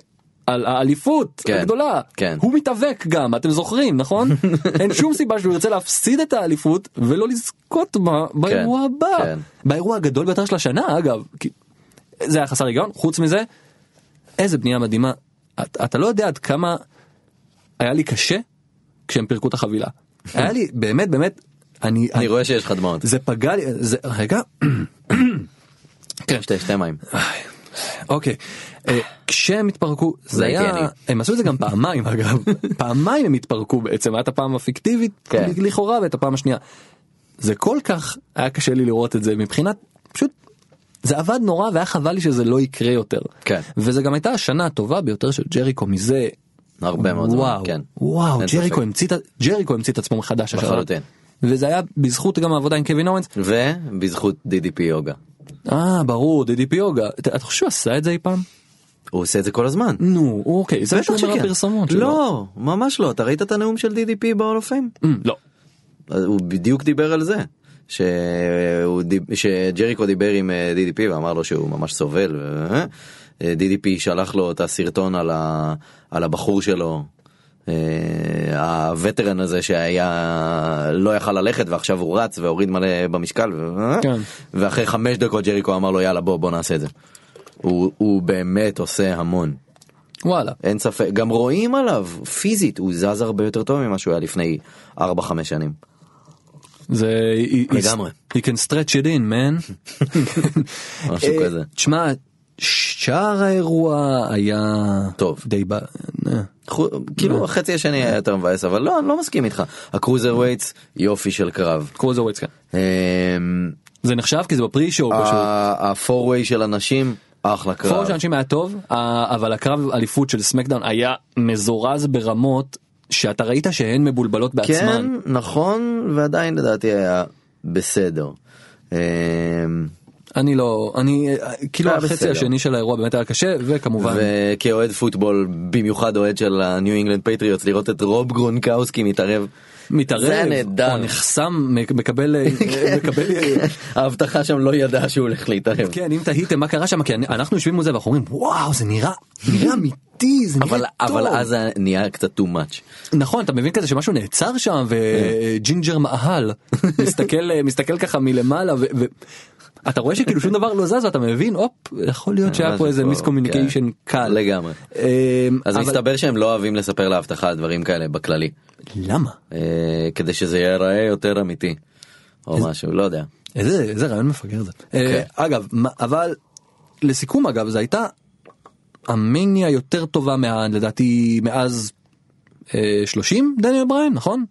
Speaker 3: על האליפות
Speaker 4: כן,
Speaker 3: הגדולה
Speaker 4: כן.
Speaker 3: הוא מתאבק גם אתם זוכרים נכון אין שום סיבה שהוא ירצה להפסיד את האליפות ולא לזכות בה באירוע
Speaker 4: כן,
Speaker 3: הבא
Speaker 4: כן.
Speaker 3: באירוע הגדול ביותר של השנה אגב כי זה היה חסר היגיון חוץ מזה איזה בנייה מדהימה אתה, אתה לא יודע עד כמה היה לי קשה כשהם פירקו את החבילה היה לי באמת באמת אני,
Speaker 4: כן. אני רואה שיש לך דמעות.
Speaker 3: זה פגע לי זה רגע כן.
Speaker 4: שתי שתי מים.
Speaker 3: אוקיי אה, כשהם התפרקו זה
Speaker 4: זה
Speaker 3: היה
Speaker 4: הגיוני.
Speaker 3: הם עשו את זה גם פעמיים אגב פעמיים הם התפרקו בעצם הייתה פעם הפיקטיבית
Speaker 4: כן.
Speaker 3: לכאורה ואת הפעם השנייה. זה כל כך היה קשה לי לראות את זה מבחינת פשוט זה עבד נורא והיה חבל לי שזה לא יקרה יותר
Speaker 4: כן.
Speaker 3: וזה גם הייתה השנה הטובה ביותר של ג'ריקו מזה
Speaker 4: הרבה מאוד זמן.
Speaker 3: וואו,
Speaker 4: כן.
Speaker 3: וואו,
Speaker 4: אין ספק.
Speaker 3: ג'ריקו המציא, את ה- ג'ריקו המציא את עצמו מחדש השנה.
Speaker 4: לחלוטין.
Speaker 3: וזה היה בזכות גם העבודה עם קווין אורנס.
Speaker 4: ובזכות DDP יוגה.
Speaker 3: אה, ברור, DDP יוגה. אתה אתה חושב שהוא עשה את זה אי פעם?
Speaker 4: הוא עושה את זה כל הזמן.
Speaker 3: נו, הוא- אוקיי, זה מה שהוא אומר בפרסומות שלו.
Speaker 4: לא, ממש לא. אתה ראית את הנאום של DDP ב-all of fame?
Speaker 3: Mm, לא.
Speaker 4: אז הוא בדיוק דיבר על זה. שהוא דיב- שג'ריקו דיבר עם אה, DDP ואמר לו שהוא ממש סובל. אה, אה, DDP שלח לו את הסרטון על, ה... על הבחור שלו. אה, הווטרן הזה שהיה לא יכל ללכת ועכשיו הוא רץ והוריד מלא במשקל ו-
Speaker 3: כן.
Speaker 4: ואחרי חמש דקות ג'ריקו אמר לו יאללה בוא בוא נעשה את זה. הוא, הוא באמת עושה המון.
Speaker 3: וואלה.
Speaker 4: אין ספק גם רואים עליו פיזית הוא זז הרבה יותר טוב ממה שהוא היה לפני 4-5 שנים.
Speaker 3: זה...
Speaker 4: לגמרי.
Speaker 3: He can stretch it in, man.
Speaker 4: משהו
Speaker 3: אה,
Speaker 4: כזה.
Speaker 3: תשמע, שאר האירוע היה...
Speaker 4: טוב.
Speaker 3: די ב... אה,
Speaker 4: חו- כאילו החצי השני היה יותר מבאס אבל לא אני לא מסכים איתך הקרוזר ווייטס יופי של קרב.
Speaker 3: קרוזווייטס, כן.
Speaker 4: אמ,
Speaker 3: זה נחשב כי זה בפרי שואו
Speaker 4: אה,
Speaker 3: פשוט.
Speaker 4: ה- הפורווי של הנשים אחלה
Speaker 3: פור
Speaker 4: קרב.
Speaker 3: של אנשים היה טוב אה, אבל הקרב אליפות של סמקדאון היה מזורז ברמות שאתה ראית שהן מבולבלות
Speaker 4: כן
Speaker 3: בעצמן.
Speaker 4: נכון ועדיין לדעתי היה בסדר. אמ,
Speaker 3: אני לא אני אה, כאילו
Speaker 4: היה
Speaker 3: החצי
Speaker 4: בסדר.
Speaker 3: השני של האירוע באמת היה קשה וכמובן
Speaker 4: וכאוהד פוטבול במיוחד אוהד של הניו אינגלנד פטריוטס לראות את רוב גרונקאוסקי מתערב.
Speaker 3: מתערב נכון,
Speaker 4: זה היה נהדר. כן.
Speaker 3: או נחסם מק- מקבל אה, מקבל אה,
Speaker 4: ההבטחה שם לא ידעה שהוא הולך להתערב.
Speaker 3: כן אם תהיתם מה קרה שם כי אני- אנחנו יושבים מול זה ואנחנו אומרים וואו זה נראה נראה אמיתי זה נראה
Speaker 4: אבל
Speaker 3: טוב.
Speaker 4: אבל אז זה נהיה קצת too much.
Speaker 3: נכון אתה מבין כזה שמשהו נעצר שם וג'ינג'ר מאהל מסתכל אה, מסתכל ככה מלמעלה ו... ו... אתה רואה שכאילו שום דבר לא זז ואתה מבין הופ יכול להיות שהיה פה
Speaker 4: משהו
Speaker 3: איזה
Speaker 4: אה, פה,
Speaker 3: מיסקומיוניקיישן
Speaker 4: כן.
Speaker 3: קל
Speaker 4: לגמרי.
Speaker 3: אמ,
Speaker 4: אז
Speaker 3: אבל-
Speaker 4: מסתבר שהם לא אוהבים לספר לאבטחה דברים כאלה בכללי
Speaker 3: למה
Speaker 4: אה, כדי שזה ייראה יותר אמיתי או משהו לא יודע.
Speaker 3: איזה איזה רעיון מפגר זה
Speaker 4: אוקיי.
Speaker 3: אה, אגב מה- אבל לסיכום אגב זה הייתה המניה יותר טובה מה לדעתי מאז אה, 30 דניאל בריין נכון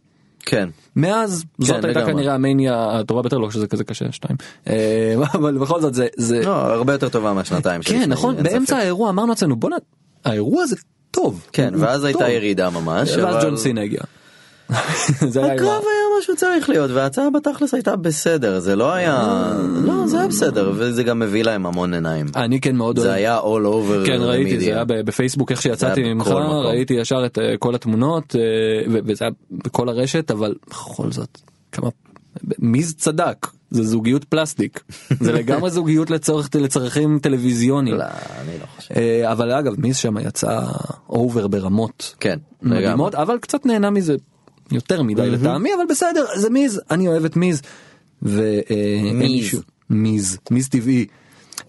Speaker 4: כן.
Speaker 3: מאז זאת הייתה
Speaker 4: לגמרי.
Speaker 3: כנראה המניה הטובה ביותר לא שזה כזה קשה שתיים אה, אבל בכל זאת זה זה
Speaker 4: לא, הרבה יותר טובה מהשנתיים.
Speaker 3: כן
Speaker 4: שלפני,
Speaker 3: נכון
Speaker 4: אין
Speaker 3: באמצע
Speaker 4: ספק.
Speaker 3: האירוע אמרנו לעצמנו בואנה האירוע זה טוב
Speaker 4: כן,
Speaker 3: הוא
Speaker 4: ואז הייתה
Speaker 3: טוב."
Speaker 4: ירידה ממש. אבל-
Speaker 3: ואז ג'ון סינה הגיע. זה היה אירוע.
Speaker 4: הקרב היה מה שהוא צריך להיות וההצעה בתכלס הייתה בסדר זה לא היה לא זה היה בסדר וזה גם מביא להם המון עיניים
Speaker 3: אני כן מאוד
Speaker 4: זה
Speaker 3: אוהב.
Speaker 4: היה all over
Speaker 3: כן ראיתי
Speaker 4: media.
Speaker 3: זה היה ב- בפייסבוק איך שיצאתי
Speaker 4: זה היה
Speaker 3: ממך
Speaker 4: בכל מקום.
Speaker 3: ראיתי ישר את אה, כל התמונות אה, ו- וזה היה בכל הרשת אבל בכל זאת כמה מי זה צדק זה זוגיות פלסטיק זה לגמרי זוגיות לצורך לצרכים טלוויזיוניים
Speaker 4: לא, אני לא חושב.
Speaker 3: אה, אבל אגב מיס שם יצאה אובר ברמות
Speaker 4: כן לגמרי.
Speaker 3: מדהימות אבל קצת נהנה מזה יותר מדי לטעמי אבל בסדר זה מיז אני אוהב את מיז. ו- אה, אין לי
Speaker 4: מיז.
Speaker 3: שום- מיז מיז טבעי.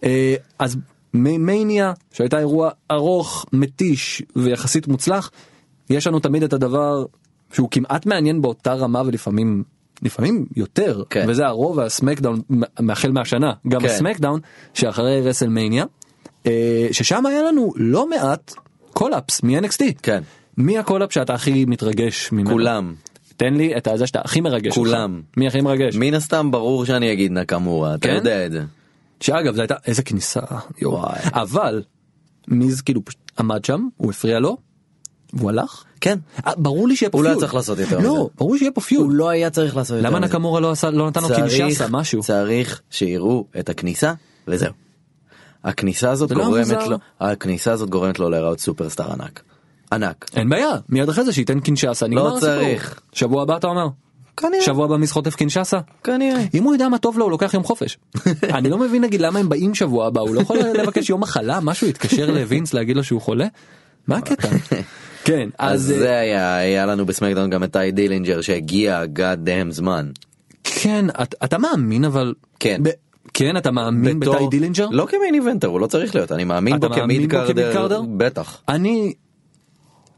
Speaker 3: אה, אז מ- מניה שהייתה אירוע ארוך מתיש ויחסית מוצלח יש לנו תמיד את הדבר שהוא כמעט מעניין באותה רמה ולפעמים. לפעמים יותר
Speaker 4: כן.
Speaker 3: וזה הרוב והסמקדאון מ- מהחל מהשנה גם
Speaker 4: כן.
Speaker 3: הסמקדאון שאחרי רסלמניה אה, ששם היה לנו לא מעט קולאפס מ-NXT.
Speaker 4: כן.
Speaker 3: מי הקולאפ שאתה הכי מתרגש ממנו?
Speaker 4: כולם
Speaker 3: תן לי את הזה שאתה הכי מרגש.
Speaker 4: כולם.
Speaker 3: אותך. מי הכי מרגש?
Speaker 4: מן הסתם ברור שאני אגיד נקמורה אתה
Speaker 3: כן?
Speaker 4: יודע את זה.
Speaker 3: שאגב זה הייתה איזה כניסה יו.
Speaker 4: וואי.
Speaker 3: אבל מיז כאילו פשוט עמד שם הוא הפריע לו. והוא הלך?
Speaker 4: כן.
Speaker 3: אה, ברור לי שיהיה פה
Speaker 4: הוא
Speaker 3: פיוד.
Speaker 4: לא היה צריך לעשות יותר מזה.
Speaker 3: לא, ברור שיהיה פה פיוד.
Speaker 4: הוא לא היה צריך לעשות יותר
Speaker 3: למה
Speaker 4: מזה.
Speaker 3: נקמורה לא עשה לא נתן לו קינשאסה
Speaker 4: צריך-
Speaker 3: משהו?
Speaker 4: צריך שיראו את הכניסה וזהו. הכניסה הזאת
Speaker 3: זה לא
Speaker 4: גורמת
Speaker 3: מוזר?
Speaker 4: לו הכניסה הזאת גורמת לו להיראות סופרסטאר ענק. ענק.
Speaker 3: אין בעיה מיד אחרי זה שייתן קינשאסה נגמר הסיפור.
Speaker 4: לא צריך.
Speaker 3: שבוע הבא אתה אומר?
Speaker 4: כנראה.
Speaker 3: שבוע הבא מיז חוטף קינשאסה?
Speaker 4: כנראה.
Speaker 3: אם הוא ידע מה טוב לו הוא לוקח יום חופש. אני לא מבין נגיד למה הם באים שבוע הבא הוא לא יכול לבקש יום מחלה משהו יתקשר לווינס להגיד לו שהוא חולה? מה הקטע? כן
Speaker 4: אז
Speaker 3: אז אה,
Speaker 4: זה היה היה לנו בסמקדאון גם את טי דילינג'ר שהגיע god damn זמן.
Speaker 3: כן את- אתה מאמין אבל
Speaker 4: כן.
Speaker 3: ב- כן אתה מאמין
Speaker 4: בתור-
Speaker 3: בטי דילינג'ר?
Speaker 4: לא כמיין איבנטר הוא לא צריך להיות אני מאמין
Speaker 3: אתה
Speaker 4: בו
Speaker 3: מאמין בו
Speaker 4: כמיד קארדר
Speaker 3: כמידקארדר?
Speaker 4: בטח.
Speaker 3: אני.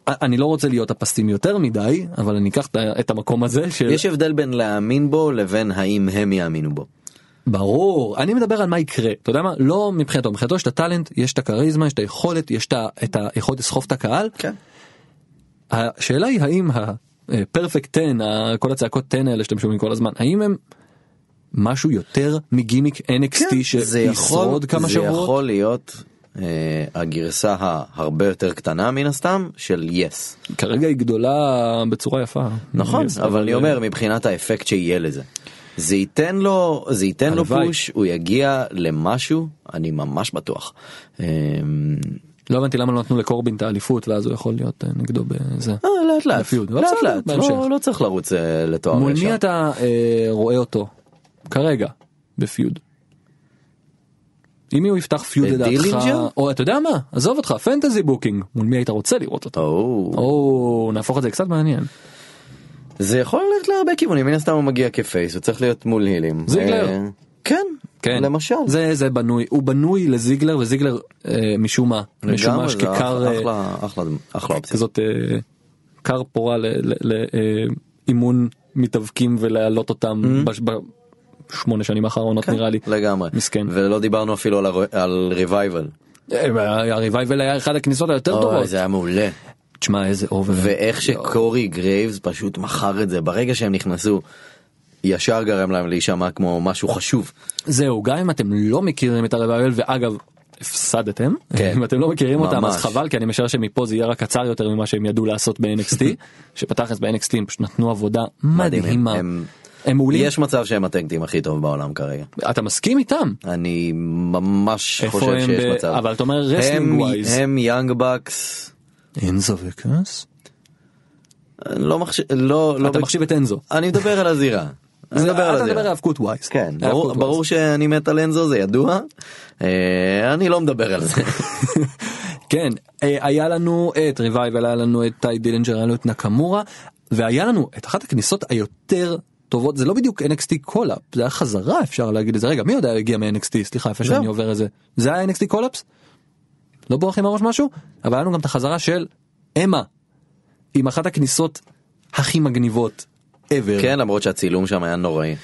Speaker 3: אני לא רוצה להיות הפסטים יותר מדי אבל אני אקח את ה- את המקום הזה של
Speaker 4: יש הבדל בין להאמין בו לבין האם הם יאמינו בו.
Speaker 3: ברור אני מדבר על מה יקרה אתה יודע מה לא מבחינתו מבחינתו יש את הטאלנט יש את הכריזמה יש את היכולת יש את ה- את היכולת לסחוף את הקהל
Speaker 4: כן.
Speaker 3: השאלה היא האם הפרפקט 10 ה- כל הצעקות 10 האלה שאתם שומעים כל הזמן האם הם משהו יותר מגימיק NXT שישרוד כמה
Speaker 4: כן, זה
Speaker 3: שבועות
Speaker 4: יכול להיות אה, הגרסה ההרבה יותר קטנה מן הסתם של יס.
Speaker 3: כרגע היא גדולה בצורה יפה
Speaker 4: נכון
Speaker 3: Yes, כן.
Speaker 4: אבל אני אומר מבחינת האפקט שיהיה לזה. זה ייתן לו זה ייתן לו
Speaker 3: הלוואי.
Speaker 4: פוש הוא יגיע למשהו אני ממש בטוח. אה,
Speaker 3: לא הבנתי למה לא נתנו לקורבין את האליפות ואז הוא יכול להיות אה, נגדו בזה
Speaker 4: אה, לאט לאט
Speaker 3: בפיוד, אבל
Speaker 4: לאט
Speaker 3: בסדר,
Speaker 4: לאט
Speaker 3: בהמשך.
Speaker 4: לא- לא צריך לרוץ אה, לתואר
Speaker 3: מול
Speaker 4: ישר.
Speaker 3: מי אתה אה, רואה אותו כרגע בפיוד. עם מי הוא יפתח פיוד
Speaker 4: את
Speaker 3: לדעתך
Speaker 4: אה, דילינג'ר?
Speaker 3: או אתה יודע מה עזוב אותך פנטזי בוקינג מול מי היית רוצה לראות אותו.
Speaker 4: או,
Speaker 3: או נהפוך את זה קצת מעניין.
Speaker 4: זה יכול ללכת להרבה כיוונים מן הסתם הוא מגיע כפייס הוא צריך להיות מול הילים.
Speaker 3: זיגלר.
Speaker 4: אה, כן
Speaker 3: כן.
Speaker 4: למשל.
Speaker 3: זה זה בנוי הוא בנוי לזיגלר וזיגלר אה, משום מה
Speaker 4: לגמרי,
Speaker 3: משומש
Speaker 4: זה
Speaker 3: ככר
Speaker 4: אחלה-
Speaker 3: אה,
Speaker 4: אחלה אחלה אחלה אופציה.
Speaker 3: כזאת אה, כר פורה לאימון אה, מתאבקים ולהעלות אותם בש- בשמונה שנים האחרונות נראה לי.
Speaker 4: Mm-hmm. כן, לגמרי
Speaker 3: מסכן.
Speaker 4: ולא דיברנו אפילו על, הרו- על ריבייבל.
Speaker 3: אה, הריבייבל היה אחד הכניסות היותר
Speaker 4: אוי
Speaker 3: טובות.
Speaker 4: זה היה מעולה
Speaker 3: תשמע איזה אובר.
Speaker 4: ואיך שקורי גרייבס פשוט מכר את זה ברגע שהם נכנסו ישר גרם להם להישמע כמו משהו חשוב
Speaker 3: זהו גם אם אתם לא מכירים את הריבייבל ואגב. הפסדתם
Speaker 4: כן.
Speaker 3: אם אתם לא מכירים אותם אז
Speaker 4: ממש.
Speaker 3: חבל כי אני משער שמפה זה יהיה רק קצר יותר ממה שהם ידעו לעשות ב-NXT שפתח אז ב-NXT הם פשוט נתנו עבודה
Speaker 4: מדהימים.
Speaker 3: מדהימה
Speaker 4: הם-
Speaker 3: הם מעולים
Speaker 4: יש מצב שהם הטנקטים הכי טוב בעולם כרגע
Speaker 3: אתה מסכים איתם
Speaker 4: אני ממש
Speaker 3: איפה
Speaker 4: חושב
Speaker 3: הם
Speaker 4: שיש
Speaker 3: ב-
Speaker 4: מצב
Speaker 3: אבל אתה אומר wrestling
Speaker 4: הם-
Speaker 3: wise.
Speaker 4: הם יאנג בקס
Speaker 3: אנזו וקאס
Speaker 4: לא מחשיב לא לא
Speaker 3: אתה
Speaker 4: בק-
Speaker 3: מחשיב את אנזו
Speaker 4: אני מדבר על הזירה. אני מדבר על
Speaker 3: אתה מדבר על
Speaker 4: הזירה.
Speaker 3: האבקות ווייז
Speaker 4: כן, ברור,
Speaker 3: האבקות
Speaker 4: ברור
Speaker 3: ווייז.
Speaker 4: שאני מת על אנזו זה ידוע אה, אני לא מדבר על זה
Speaker 3: כן אה, היה לנו את ריבייבל היה לנו את טי דילינג'ר היה לנו את נקמורה והיה לנו את אחת הכניסות היותר טובות זה לא בדיוק NXT קולאפ זה היה חזרה אפשר להגיד את זה רגע מי יודע הגיע מ-NXT סליחה איפה שאני עובר את זה זה היה NXT קולאפס? לא בורח לי מהראש משהו אבל היה לנו גם את החזרה של אמה עם אחת הכניסות הכי מגניבות ever
Speaker 4: כן למרות שהצילום שם היה נוראי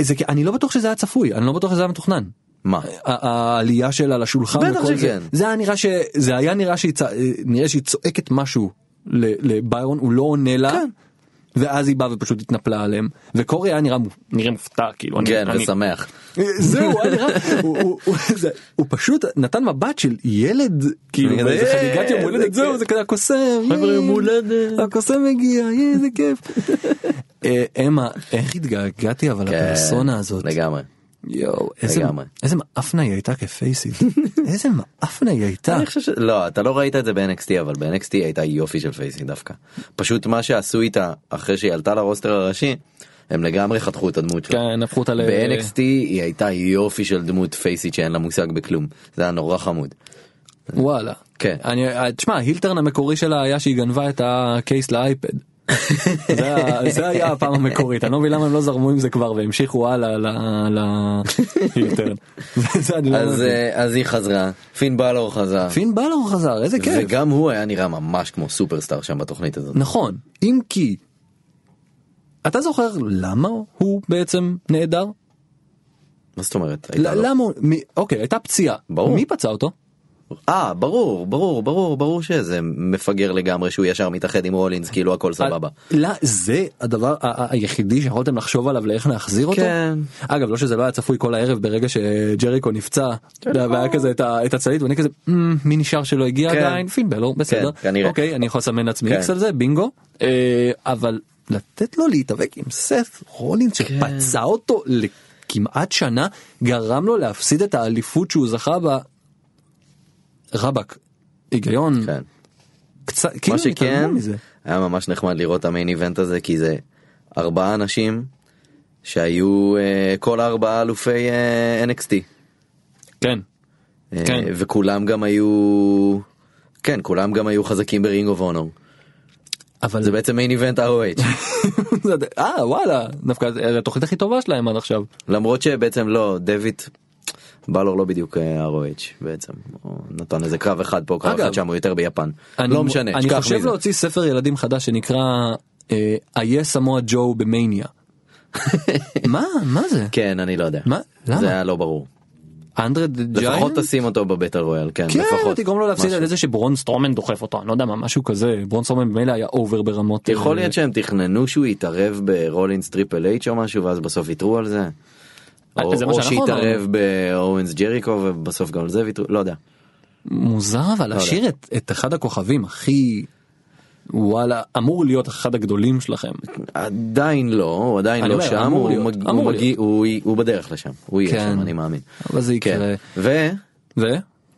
Speaker 3: זה כי אני לא בטוח שזה היה צפוי אני לא בטוח שזה היה מתוכנן.
Speaker 4: מה
Speaker 3: ה- העלייה שלה לשולחן
Speaker 4: בטח
Speaker 3: וכל
Speaker 4: שכן.
Speaker 3: זה, זה היה נראה ש- זה היה נראה שהיא צ- נראה שהיא צועקת משהו ל- לביירון הוא לא עונה לה. ואז היא באה ופשוט התנפלה עליהם וקורי היה נראה מופ- נראה מופתע כאילו אני-
Speaker 4: כן
Speaker 3: אני-
Speaker 4: ושמח.
Speaker 3: אה, זהו הוא היה נראה- הוא- הוא- הוא- זה- הוא פשוט נתן מבט של ילד כאילו
Speaker 4: כזה,
Speaker 3: באיזה
Speaker 4: "אה,
Speaker 3: חגיגת יום הולדת כן.
Speaker 4: זה
Speaker 3: זהו
Speaker 4: כיף."
Speaker 3: זה כזה הקוסם
Speaker 4: חבר'ה,
Speaker 3: יאי,
Speaker 4: יום הולדת.
Speaker 3: הקוסם מגיע יאי, איזה כיף. אה, אמה איך התגעגעתי אבל
Speaker 4: כן,
Speaker 3: הפרסונה הזאת
Speaker 4: לגמרי.
Speaker 3: יואו איזה-
Speaker 4: לגמרי.
Speaker 3: איזה מאפנה היא הייתה כפייסית איזה מאפנה היא הייתה.
Speaker 4: אני חושב ש... לא, אתה לא ראית את זה ב-NXT, אבל ב-NXT היא הייתה יופי של פייסי דווקא. פשוט מה שעשו איתה אחרי שהיא עלתה לרוסטר הראשי, הם לגמרי חתכו את הדמות שלה.
Speaker 3: כן הפכו אותה ל...
Speaker 4: ב-NXT היא הייתה יופי של דמות פייסית שאין לה מושג בכלום. זה היה נורא חמוד.
Speaker 3: וואלה.
Speaker 4: כן.
Speaker 3: אני, אה, תשמע, הילטרן המקורי שלה היה שהיא גנבה את הקייס לאייפד. זה, ה- זה היה הפעם המקורית, אני לא מבין למה הם לא זרמו עם זה כבר והמשיכו הלאה להילטרן. זה- זה אני לא
Speaker 4: אז,
Speaker 3: מבין.
Speaker 4: אה, אז היא חזרה, פין בלור חזר,
Speaker 3: פין כן. בלור חזר, איזה כיף.
Speaker 4: וגם הוא היה נראה ממש כמו סופרסטאר שם בתוכנית הזאת.
Speaker 3: נכון, אם כי, אתה זוכר למה הוא בעצם נעדר?
Speaker 4: מה זאת אומרת? הייתה לו-
Speaker 3: ל- למה הוא, מ- אוקיי, הייתה פציעה.
Speaker 4: ברור.
Speaker 3: מי פצע אותו?
Speaker 4: אה, ברור, ברור, ברור, ברור שזה מפגר לגמרי שהוא ישר מתאחד עם רולינס, כאילו הכל סבבה.
Speaker 3: לא, זה הדבר ה- ה- היחידי שיכולתם לחשוב עליו לאיך להחזיר אותו?
Speaker 4: כן.
Speaker 3: אגב לא שזה לא היה צפוי כל הערב ברגע שג'ריקו נפצע
Speaker 4: כן.
Speaker 3: והיה כזה את ה- את הצלית ואני כזה "מ, מי נשאר שלא הגיע
Speaker 4: אה. כן.
Speaker 3: עדיין פין בלור בסדר
Speaker 4: כן, כנראה.
Speaker 3: אוקיי אני יכול לסמן לעצמי
Speaker 4: כן.
Speaker 3: איקס על זה בינגו אה, אבל לתת לו להתאבק עם סף רולינס
Speaker 4: כן.
Speaker 3: שפצע אותו לכמעט שנה גרם לו להפסיד את האליפות שהוא זכה בה. רבאק היגיון
Speaker 4: כן.
Speaker 3: קצת
Speaker 4: מה
Speaker 3: כאילו
Speaker 4: שכן,
Speaker 3: התעלמו מזה.
Speaker 4: היה ממש נחמד לראות את המיין איבנט הזה, כי זה ארבעה אנשים שהיו אה, כל ארבעה אלופי אה, NXT.
Speaker 3: כן.
Speaker 4: אה,
Speaker 3: כן.
Speaker 4: וכולם גם היו... כן, כולם גם היו חזקים ברינג אוף אונור.
Speaker 3: אבל
Speaker 4: זה בעצם מיין איבנט ROH.
Speaker 3: אה וואלה דווקא זה התוכנית הכי טובה שלהם עד עכשיו
Speaker 4: למרות שבעצם לא, דויד בלור לא בדיוק אה, ROH בעצם. הוא נתן איזה קרב אחד פה, קרב
Speaker 3: אגב,
Speaker 4: אחד שם, הוא יותר ביפן.
Speaker 3: אני-
Speaker 4: לא משנה,
Speaker 3: אני
Speaker 4: תשכח
Speaker 3: חושב
Speaker 4: מזה.
Speaker 3: להוציא ספר ילדים חדש שנקרא אה, איה סמואה ג'ו במאניה. מה מה זה
Speaker 4: כן, אני לא יודע.
Speaker 3: מה? למה?
Speaker 4: זה היה לא ברור.
Speaker 3: אנדרד
Speaker 4: לפחות
Speaker 3: ג'יינט?
Speaker 4: תשים אותו בבית הרויאל, כן,
Speaker 3: כן
Speaker 4: לפחות.
Speaker 3: תגרום לו להפסיד
Speaker 4: משהו.
Speaker 3: על זה שברון סטרומן דוחף אותו אני לא יודע מה משהו כזה ברון סטרומן במילא היה אובר ברמות.
Speaker 4: יכול
Speaker 3: אה,
Speaker 4: להיות שהם תכננו שהוא יתערב ברולינס טריפל אייץ' או משהו ואז בסוף ויתרו על זה.
Speaker 3: אה,
Speaker 4: או
Speaker 3: זה מה
Speaker 4: או
Speaker 3: שאנחנו
Speaker 4: שיתערב באורנס ג'ריקו ובסוף גם על זה ויתרו, לא יודע.
Speaker 3: מוזר אבל
Speaker 4: לא יודע.
Speaker 3: להשאיר את- את אחד הכוכבים הכי וואלה אמור להיות אחד הגדולים שלכם.
Speaker 4: עדיין לא, הוא עדיין
Speaker 3: אני
Speaker 4: לא
Speaker 3: אומר,
Speaker 4: שם,
Speaker 3: אמור
Speaker 4: הוא
Speaker 3: להיות,
Speaker 4: מג-
Speaker 3: אמור
Speaker 4: הוא מגיע- הוא י- הוא בדרך לשם, הוא יהיה
Speaker 3: כן.
Speaker 4: שם, אני מאמין.
Speaker 3: אבל זה יקרה.
Speaker 4: וקורט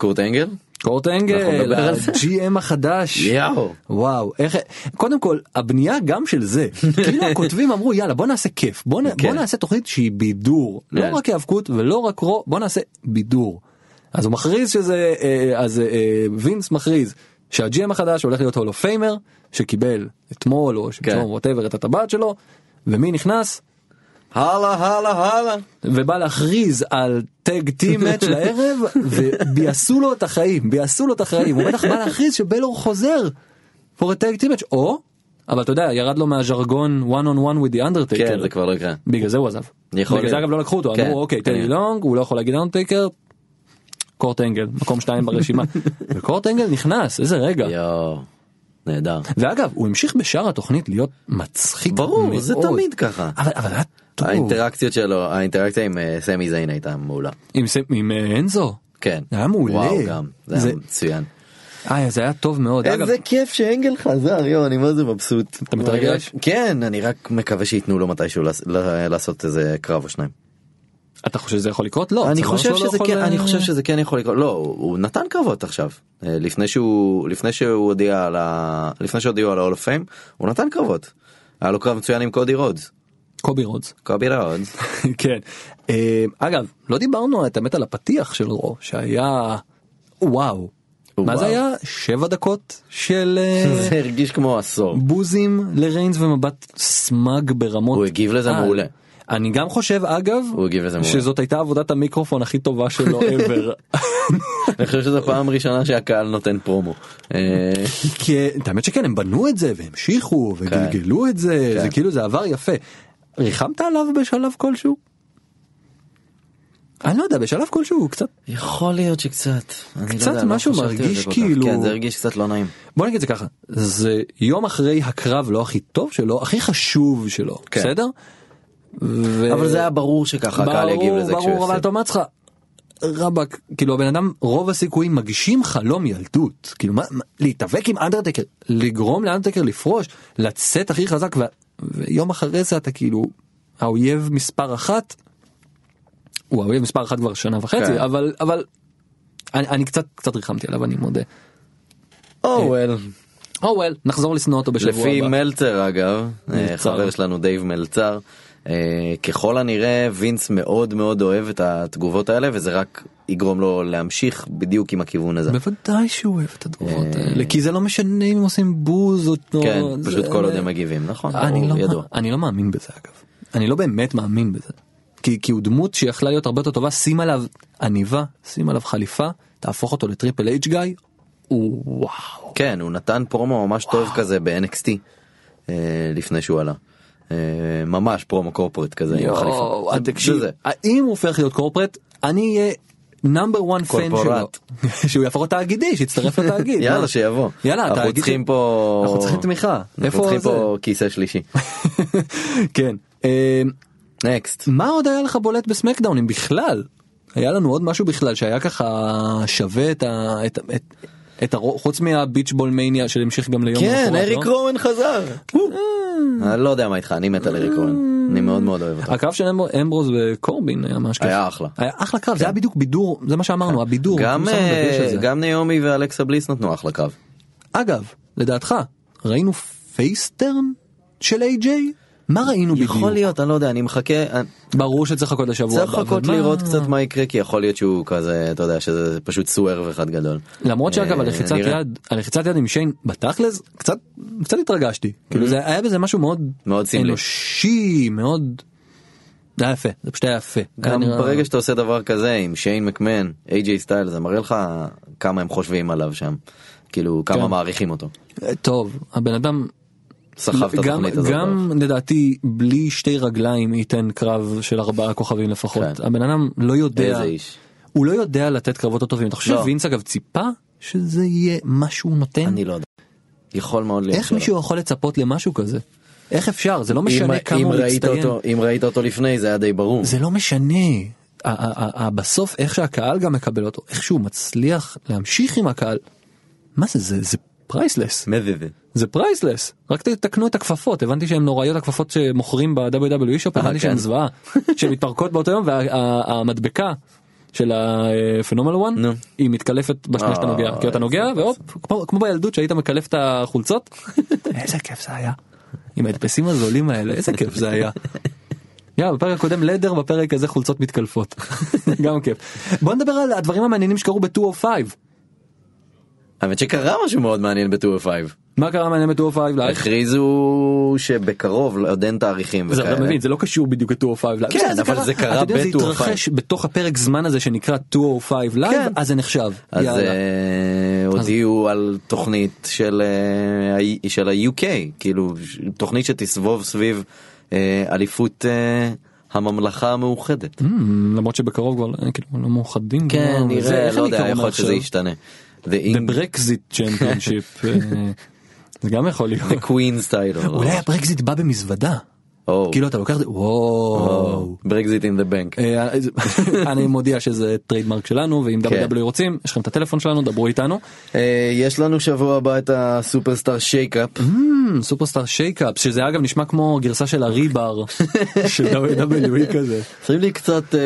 Speaker 3: ו?
Speaker 4: כן. אנגל?
Speaker 3: קורט
Speaker 4: אנחנו
Speaker 3: אנגל,
Speaker 4: נדבר על זה.
Speaker 3: ה-GM החדש.
Speaker 4: יאו.
Speaker 3: וואו איך קודם כל הבנייה גם של זה כאילו הכותבים אמרו יאללה בוא נעשה כיף בוא, נ...
Speaker 4: כן.
Speaker 3: בוא נעשה תוכנית שהיא בידור
Speaker 4: כן.
Speaker 3: לא רק האבקות ולא רק רו בוא נעשה בידור. אז הוא מכריז שזה אה, אז אה, וינס מכריז שהג'י.אם החדש הולך להיות הולו פיימר שקיבל אתמול או
Speaker 4: כן.
Speaker 3: שלשום ווטאבר את הטבעת שלו ומי נכנס
Speaker 4: הלאה הלאה הלאה.
Speaker 3: ובא להכריז על טג טים מאץ' לערב וביאסו לו את החיים ביאסו לו את החיים הוא בטח בא להכריז שבלור חוזר. for a tag team match או אבל אתה יודע ירד לו מהז'רגון one on one with the undertaker
Speaker 4: כן זה כבר לא יקרה.
Speaker 3: בגלל זה הוא עזב.
Speaker 4: יכול
Speaker 3: בגלל זה
Speaker 4: להיות.
Speaker 3: אגב לא לקחו אותו
Speaker 4: כן,
Speaker 3: אמרו אוקיי טדי
Speaker 4: כנראה.
Speaker 3: לונג הוא לא יכול להגיד אנדרטייקר. קורט אנגל מקום שתיים ברשימה וקורט אנגל נכנס איזה רגע
Speaker 4: יואו. נהדר.
Speaker 3: ואגב הוא המשיך בשאר התוכנית להיות מצחיק
Speaker 4: ברור זה
Speaker 3: מאוד.
Speaker 4: תמיד ככה.
Speaker 3: אבל אבל היה טוב.
Speaker 4: האינטראקציות שלו, האינטראקציה עם אה, סמי זיין הייתה מעולה.
Speaker 3: עם ס- עם אה, אנזו.
Speaker 4: כן.
Speaker 3: זה היה מעולה.
Speaker 4: וואו גם. זה
Speaker 3: זה-
Speaker 4: היה מצוין.
Speaker 3: אה, זה היה טוב מאוד. אגב,
Speaker 4: איזה כיף שאנגל חזר, יואו, אני מה זה מבסוט. אתה
Speaker 3: מתרגש?
Speaker 4: כן, אני רק מקווה שייתנו לו מתישהו לעס- ל- לעשות איזה קרב או שניים.
Speaker 3: אתה חושב שזה יכול לקרות? לא.
Speaker 4: אני
Speaker 3: הצוואר
Speaker 4: חושב
Speaker 3: שלו לא
Speaker 4: שזה
Speaker 3: יכול,
Speaker 4: כן,
Speaker 3: אה,
Speaker 4: אני חושב שזה כן יכול לקרות, לא, הוא הוא נתן קרבות עכשיו. אה, לפני שהוא, לפני שהוא הודיע על ה... לפני שהודיעו על ה-all of fame, הוא נתן קרבות. היה לו קרב מצוין עם קודי רודס.
Speaker 3: קובי רודס.
Speaker 4: קובי רודס.
Speaker 3: כן. אה, אגב, לא דיברנו את האמת על הפתיח של רו, שהיה וואו. מה
Speaker 4: וואו.
Speaker 3: זה היה? שבע דקות של אה,
Speaker 4: זה הרגיש כמו עשור.
Speaker 3: בוזים לריינס ומבט סמג ברמות.
Speaker 4: הוא הגיב לזה
Speaker 3: על.
Speaker 4: מעולה.
Speaker 3: אני גם חושב אגב,
Speaker 4: הוא הגיב לזה מעולה.
Speaker 3: שזאת הייתה עבודת המיקרופון הכי טובה שלו ever.
Speaker 4: אני חושב שזו פעם ראשונה שהקהל נותן פרומו. אה,
Speaker 3: כי את האמת שכן הם בנו את זה והמשיכו וגלגלו את זה
Speaker 4: כן.
Speaker 3: זה כאילו זה עבר יפה. ריחמת עליו בשלב כלשהו? אני לא יודע, בשלב כלשהו הוא קצת...
Speaker 4: יכול להיות שקצת. אני
Speaker 3: קצת
Speaker 4: לא יודע, לא
Speaker 3: משהו
Speaker 4: חשבתי על זה
Speaker 3: מרגיש
Speaker 4: כל כך.
Speaker 3: כאילו-
Speaker 4: כן, זה הרגיש קצת לא נעים.
Speaker 3: בוא נגיד את זה ככה, זה יום אחרי הקרב לא הכי טוב שלו, הכי חשוב שלו,
Speaker 4: כן.
Speaker 3: בסדר? ו...
Speaker 4: אבל זה היה ברור שככה הקהל יגיב לזה
Speaker 3: אה, ברור,
Speaker 4: כשהוא
Speaker 3: ברור, אבל
Speaker 4: יפסיד.
Speaker 3: אתה אומר לעצמך, רבאק, כאילו הבן אדם, רוב הסיכויים מגשים חלום ילדות, כאילו מה, מה- להתאבק עם אנדרטקר, לגרום לאנדרטקר לפרוש, לצאת הכי חזק, ו... ויום אחרי זה אתה כאילו, האויב מספר אחת, הוא האויב מספר אחת כבר שנה וחצי,
Speaker 4: כן.
Speaker 3: אבל, אבל, אני, אני קצת, קצת ריחמתי עליו, אני מודה.
Speaker 4: אה,
Speaker 3: כן.
Speaker 4: אוהל.
Speaker 3: אוהל, נחזור לשנוא אותו בשבוע
Speaker 4: לפי
Speaker 3: הבא.
Speaker 4: מלצר אגב,
Speaker 3: מלצר.
Speaker 4: אה, חבר שלנו דייב מלצר, אה, ככל הנראה וינס מאוד מאוד אוהב את התגובות האלה וזה רק יגרום לו להמשיך בדיוק עם הכיוון הזה.
Speaker 3: בוודאי שהוא אוהב את התגובות האלה, כי זה לא משנה אם הם עושים בוז או...
Speaker 4: אה. כן,
Speaker 3: או-
Speaker 4: פשוט
Speaker 3: זה-
Speaker 4: כל עוד הם מגיבים, נכון,
Speaker 3: אני
Speaker 4: ברור,
Speaker 3: לא-
Speaker 4: ידוע.
Speaker 3: אני לא מאמין בזה אגב. אני לא באמת מאמין בזה. כי, כי הוא דמות שיכלה להיות הרבה יותר טובה, שים עליו עניבה, שים עליו חליפה, תהפוך אותו לטריפל אייג' גיא, הוא וואו.
Speaker 4: כן, הוא נתן פרומו ממש טוב כזה ב-NXT אה, לפני שהוא עלה. אה, ממש פרומו קורפורט כזה עם החליפה.
Speaker 3: יואו,
Speaker 4: זה-
Speaker 3: אה, תקשיב,
Speaker 4: זה זה.
Speaker 3: האם הוא הופך להיות קורפרט, אני אהיה נאמבר 1 פן שלו.
Speaker 4: קורפורט.
Speaker 3: שהוא יהפוך להיות תאגידי, שיצטרף לתאגיד.
Speaker 4: יאללה
Speaker 3: מה?
Speaker 4: שיבוא.
Speaker 3: יאללה,
Speaker 4: אנחנו
Speaker 3: התאגיד-
Speaker 4: צריכים פה...
Speaker 3: אנחנו צריכים תמיכה.
Speaker 4: אנחנו
Speaker 3: איפה
Speaker 4: צריכים
Speaker 3: זה?
Speaker 4: פה כיסא שלישי.
Speaker 3: כן. אה,
Speaker 4: נקסט.
Speaker 3: מה עוד היה לך בולט בסמקדאון אם בכלל? היה לנו עוד משהו בכלל שהיה ככה שווה את ה... את, את, את הרו... חוץ מהביץ' בול מניה שהמשיך גם ליום
Speaker 4: כן,
Speaker 3: למחרת,
Speaker 4: אריק
Speaker 3: לא? אה.
Speaker 4: רומן חזר. אני לא יודע מה איתך, אני מת על אריק רומן. אני מאוד מאוד אוהב אותו.
Speaker 3: הקרב של אמבר- אמברוז וקורבין היה ממש כיף.
Speaker 4: היה אחלה. כן.
Speaker 3: היה אחלה קרב, זה היה בדיוק בידור, זה מה שאמרנו, הבידור.
Speaker 4: גם,
Speaker 3: אנחנו שמנו דגש על
Speaker 4: אה,
Speaker 3: זה.
Speaker 4: גם נעמי ואלכסה בליס נתנו אחלה קרב.
Speaker 3: אגב, לדעתך, ראינו פייסטרן של איי-ג'יי? מה ראינו בדיוק?
Speaker 4: יכול להיות, אני לא יודע, אני מחכה, אני-
Speaker 3: ברור שצריך לחכות לשבוע
Speaker 4: צריך
Speaker 3: הבא,
Speaker 4: לחכות
Speaker 3: אבל מה-
Speaker 4: לראות קצת מה יקרה, כי יכול להיות שהוא כזה, אתה יודע, שזה פשוט סוורב אחד גדול.
Speaker 3: למרות שאגב
Speaker 4: אה,
Speaker 3: הלחיצת
Speaker 4: נראה.
Speaker 3: יד הלחיצת יד עם שיין בתכלס קצת קצת התרגשתי כאילו זה היה בזה משהו מאוד
Speaker 4: Mm-hmm. מאוד סמלי.
Speaker 3: אנושי מאוד. זה היה יפה זה פשוט היה יפה.
Speaker 4: גם
Speaker 3: היה נראה-
Speaker 4: ברגע שאתה עושה דבר כזה עם שיין מקמן, איי-ג'יי סטייל, זה מראה לך כמה הם חושבים עליו שם. כאילו,
Speaker 3: כן.
Speaker 4: כמה מעריכים אותו.
Speaker 3: אה, טוב הבן אדם
Speaker 4: סחב את
Speaker 3: גם
Speaker 4: התוכנית הזאת.
Speaker 3: גם לדעתי בלי שתי רגליים ייתן קרב של ארבעה כוכבים לפחות
Speaker 4: כן.
Speaker 3: הבן אדם לא יודע
Speaker 4: איזה איש.
Speaker 3: הוא לא יודע לתת קרבות יותר טובים אתה חושב
Speaker 4: לא.
Speaker 3: וינס אגב ציפה שזה יהיה מה שהוא נותן
Speaker 4: אני לא יודע. יכול מאוד להיות.
Speaker 3: איך
Speaker 4: שלא.
Speaker 3: מישהו יכול לצפות למשהו כזה איך אפשר זה לא משנה
Speaker 4: אם-
Speaker 3: כמה
Speaker 4: אם
Speaker 3: הוא
Speaker 4: ראית
Speaker 3: מצטיין.
Speaker 4: אותו- אם ראית אותו לפני זה היה די ברור.
Speaker 3: זה לא משנה. ה- ה- ה- בסוף איך שהקהל גם מקבל אותו, איך שהוא מצליח להמשיך עם הקהל. מה זה זה זה פרייסלס
Speaker 4: מה זה זה?
Speaker 3: זה פרייסלס רק תתקנו את הכפפות הבנתי שהן נוראיות הכפפות שמוכרים ב-WWE שופ הבנתי שהן
Speaker 4: כן.
Speaker 3: זוועה שהן מתפרקות באותו יום והמדבקה של הפנומל וואן
Speaker 4: נו.
Speaker 3: היא מתקלפת בשנייה שאתה
Speaker 4: אה,
Speaker 3: נוגע כי אתה
Speaker 4: איזה
Speaker 3: נוגע והופ כמו- כמו בילדות שהיית מקלף את החולצות איזה כיף זה היה עם ההדפסים הזולים האלה איזה כיף זה היה. יא, בפרק הקודם לדר, בפרק הזה חולצות מתקלפות. גם כיף. בוא נדבר על הדברים המעניינים שקרו ב-205.
Speaker 4: האמת שקרה משהו מאוד מעניין ב-205.
Speaker 3: מה קרה מעניין ב-205 לייב?
Speaker 4: הכריזו שבקרוב, עוד אין תאריכים
Speaker 3: זה אתה
Speaker 4: וכאלה.
Speaker 3: מבין, זה לא קשור בדיוק ל-205 לייב.
Speaker 4: כן, אבל זה קרה oh
Speaker 3: אתה יודע, זה
Speaker 4: ב- 205.
Speaker 3: התרחש בתוך הפרק זמן הזה שנקרא 205 לייב,
Speaker 4: כן.
Speaker 3: אז זה נחשב.
Speaker 4: אז
Speaker 3: יאללה.
Speaker 4: אה, הודיעו על תוכנית של אה, ה- של ה-UK, כאילו ש- תוכנית שתסבוב סביב אה, אליפות אה, הממלכה המאוחדת.
Speaker 3: Hmm, למרות שבקרוב כבר אה, כאילו לא מאוחדים. כבר, זה-
Speaker 4: נראה,
Speaker 3: איך
Speaker 4: לא
Speaker 3: הם
Speaker 4: יודע,
Speaker 3: יקראו
Speaker 4: יכול להיות
Speaker 3: מעכשיו?
Speaker 4: שזה ישתנה. The
Speaker 3: The
Speaker 4: Eng-
Speaker 3: Brexit Championship. אה, זה גם יכול להיות.
Speaker 4: the Queen's title.
Speaker 3: אולי הברקזיט בא במזוודה.
Speaker 4: או,
Speaker 3: כאילו אתה לוקח את זה, וואו.
Speaker 4: או, Oh. Brexit in the bank.
Speaker 3: אה, אז- אני מודיע שזה טריידמרק שלנו ואם
Speaker 4: כן.
Speaker 3: WW רוצים יש לכם את הטלפון שלנו דברו איתנו.
Speaker 4: אה, יש לנו שבוע הבא את הסופרסטאר שייקאפ.
Speaker 3: Hmm, סופרסטאר שייקאפ שזה אגב נשמע כמו גרסה של הריבר של WWE כזה
Speaker 4: שמים לי קצת אה,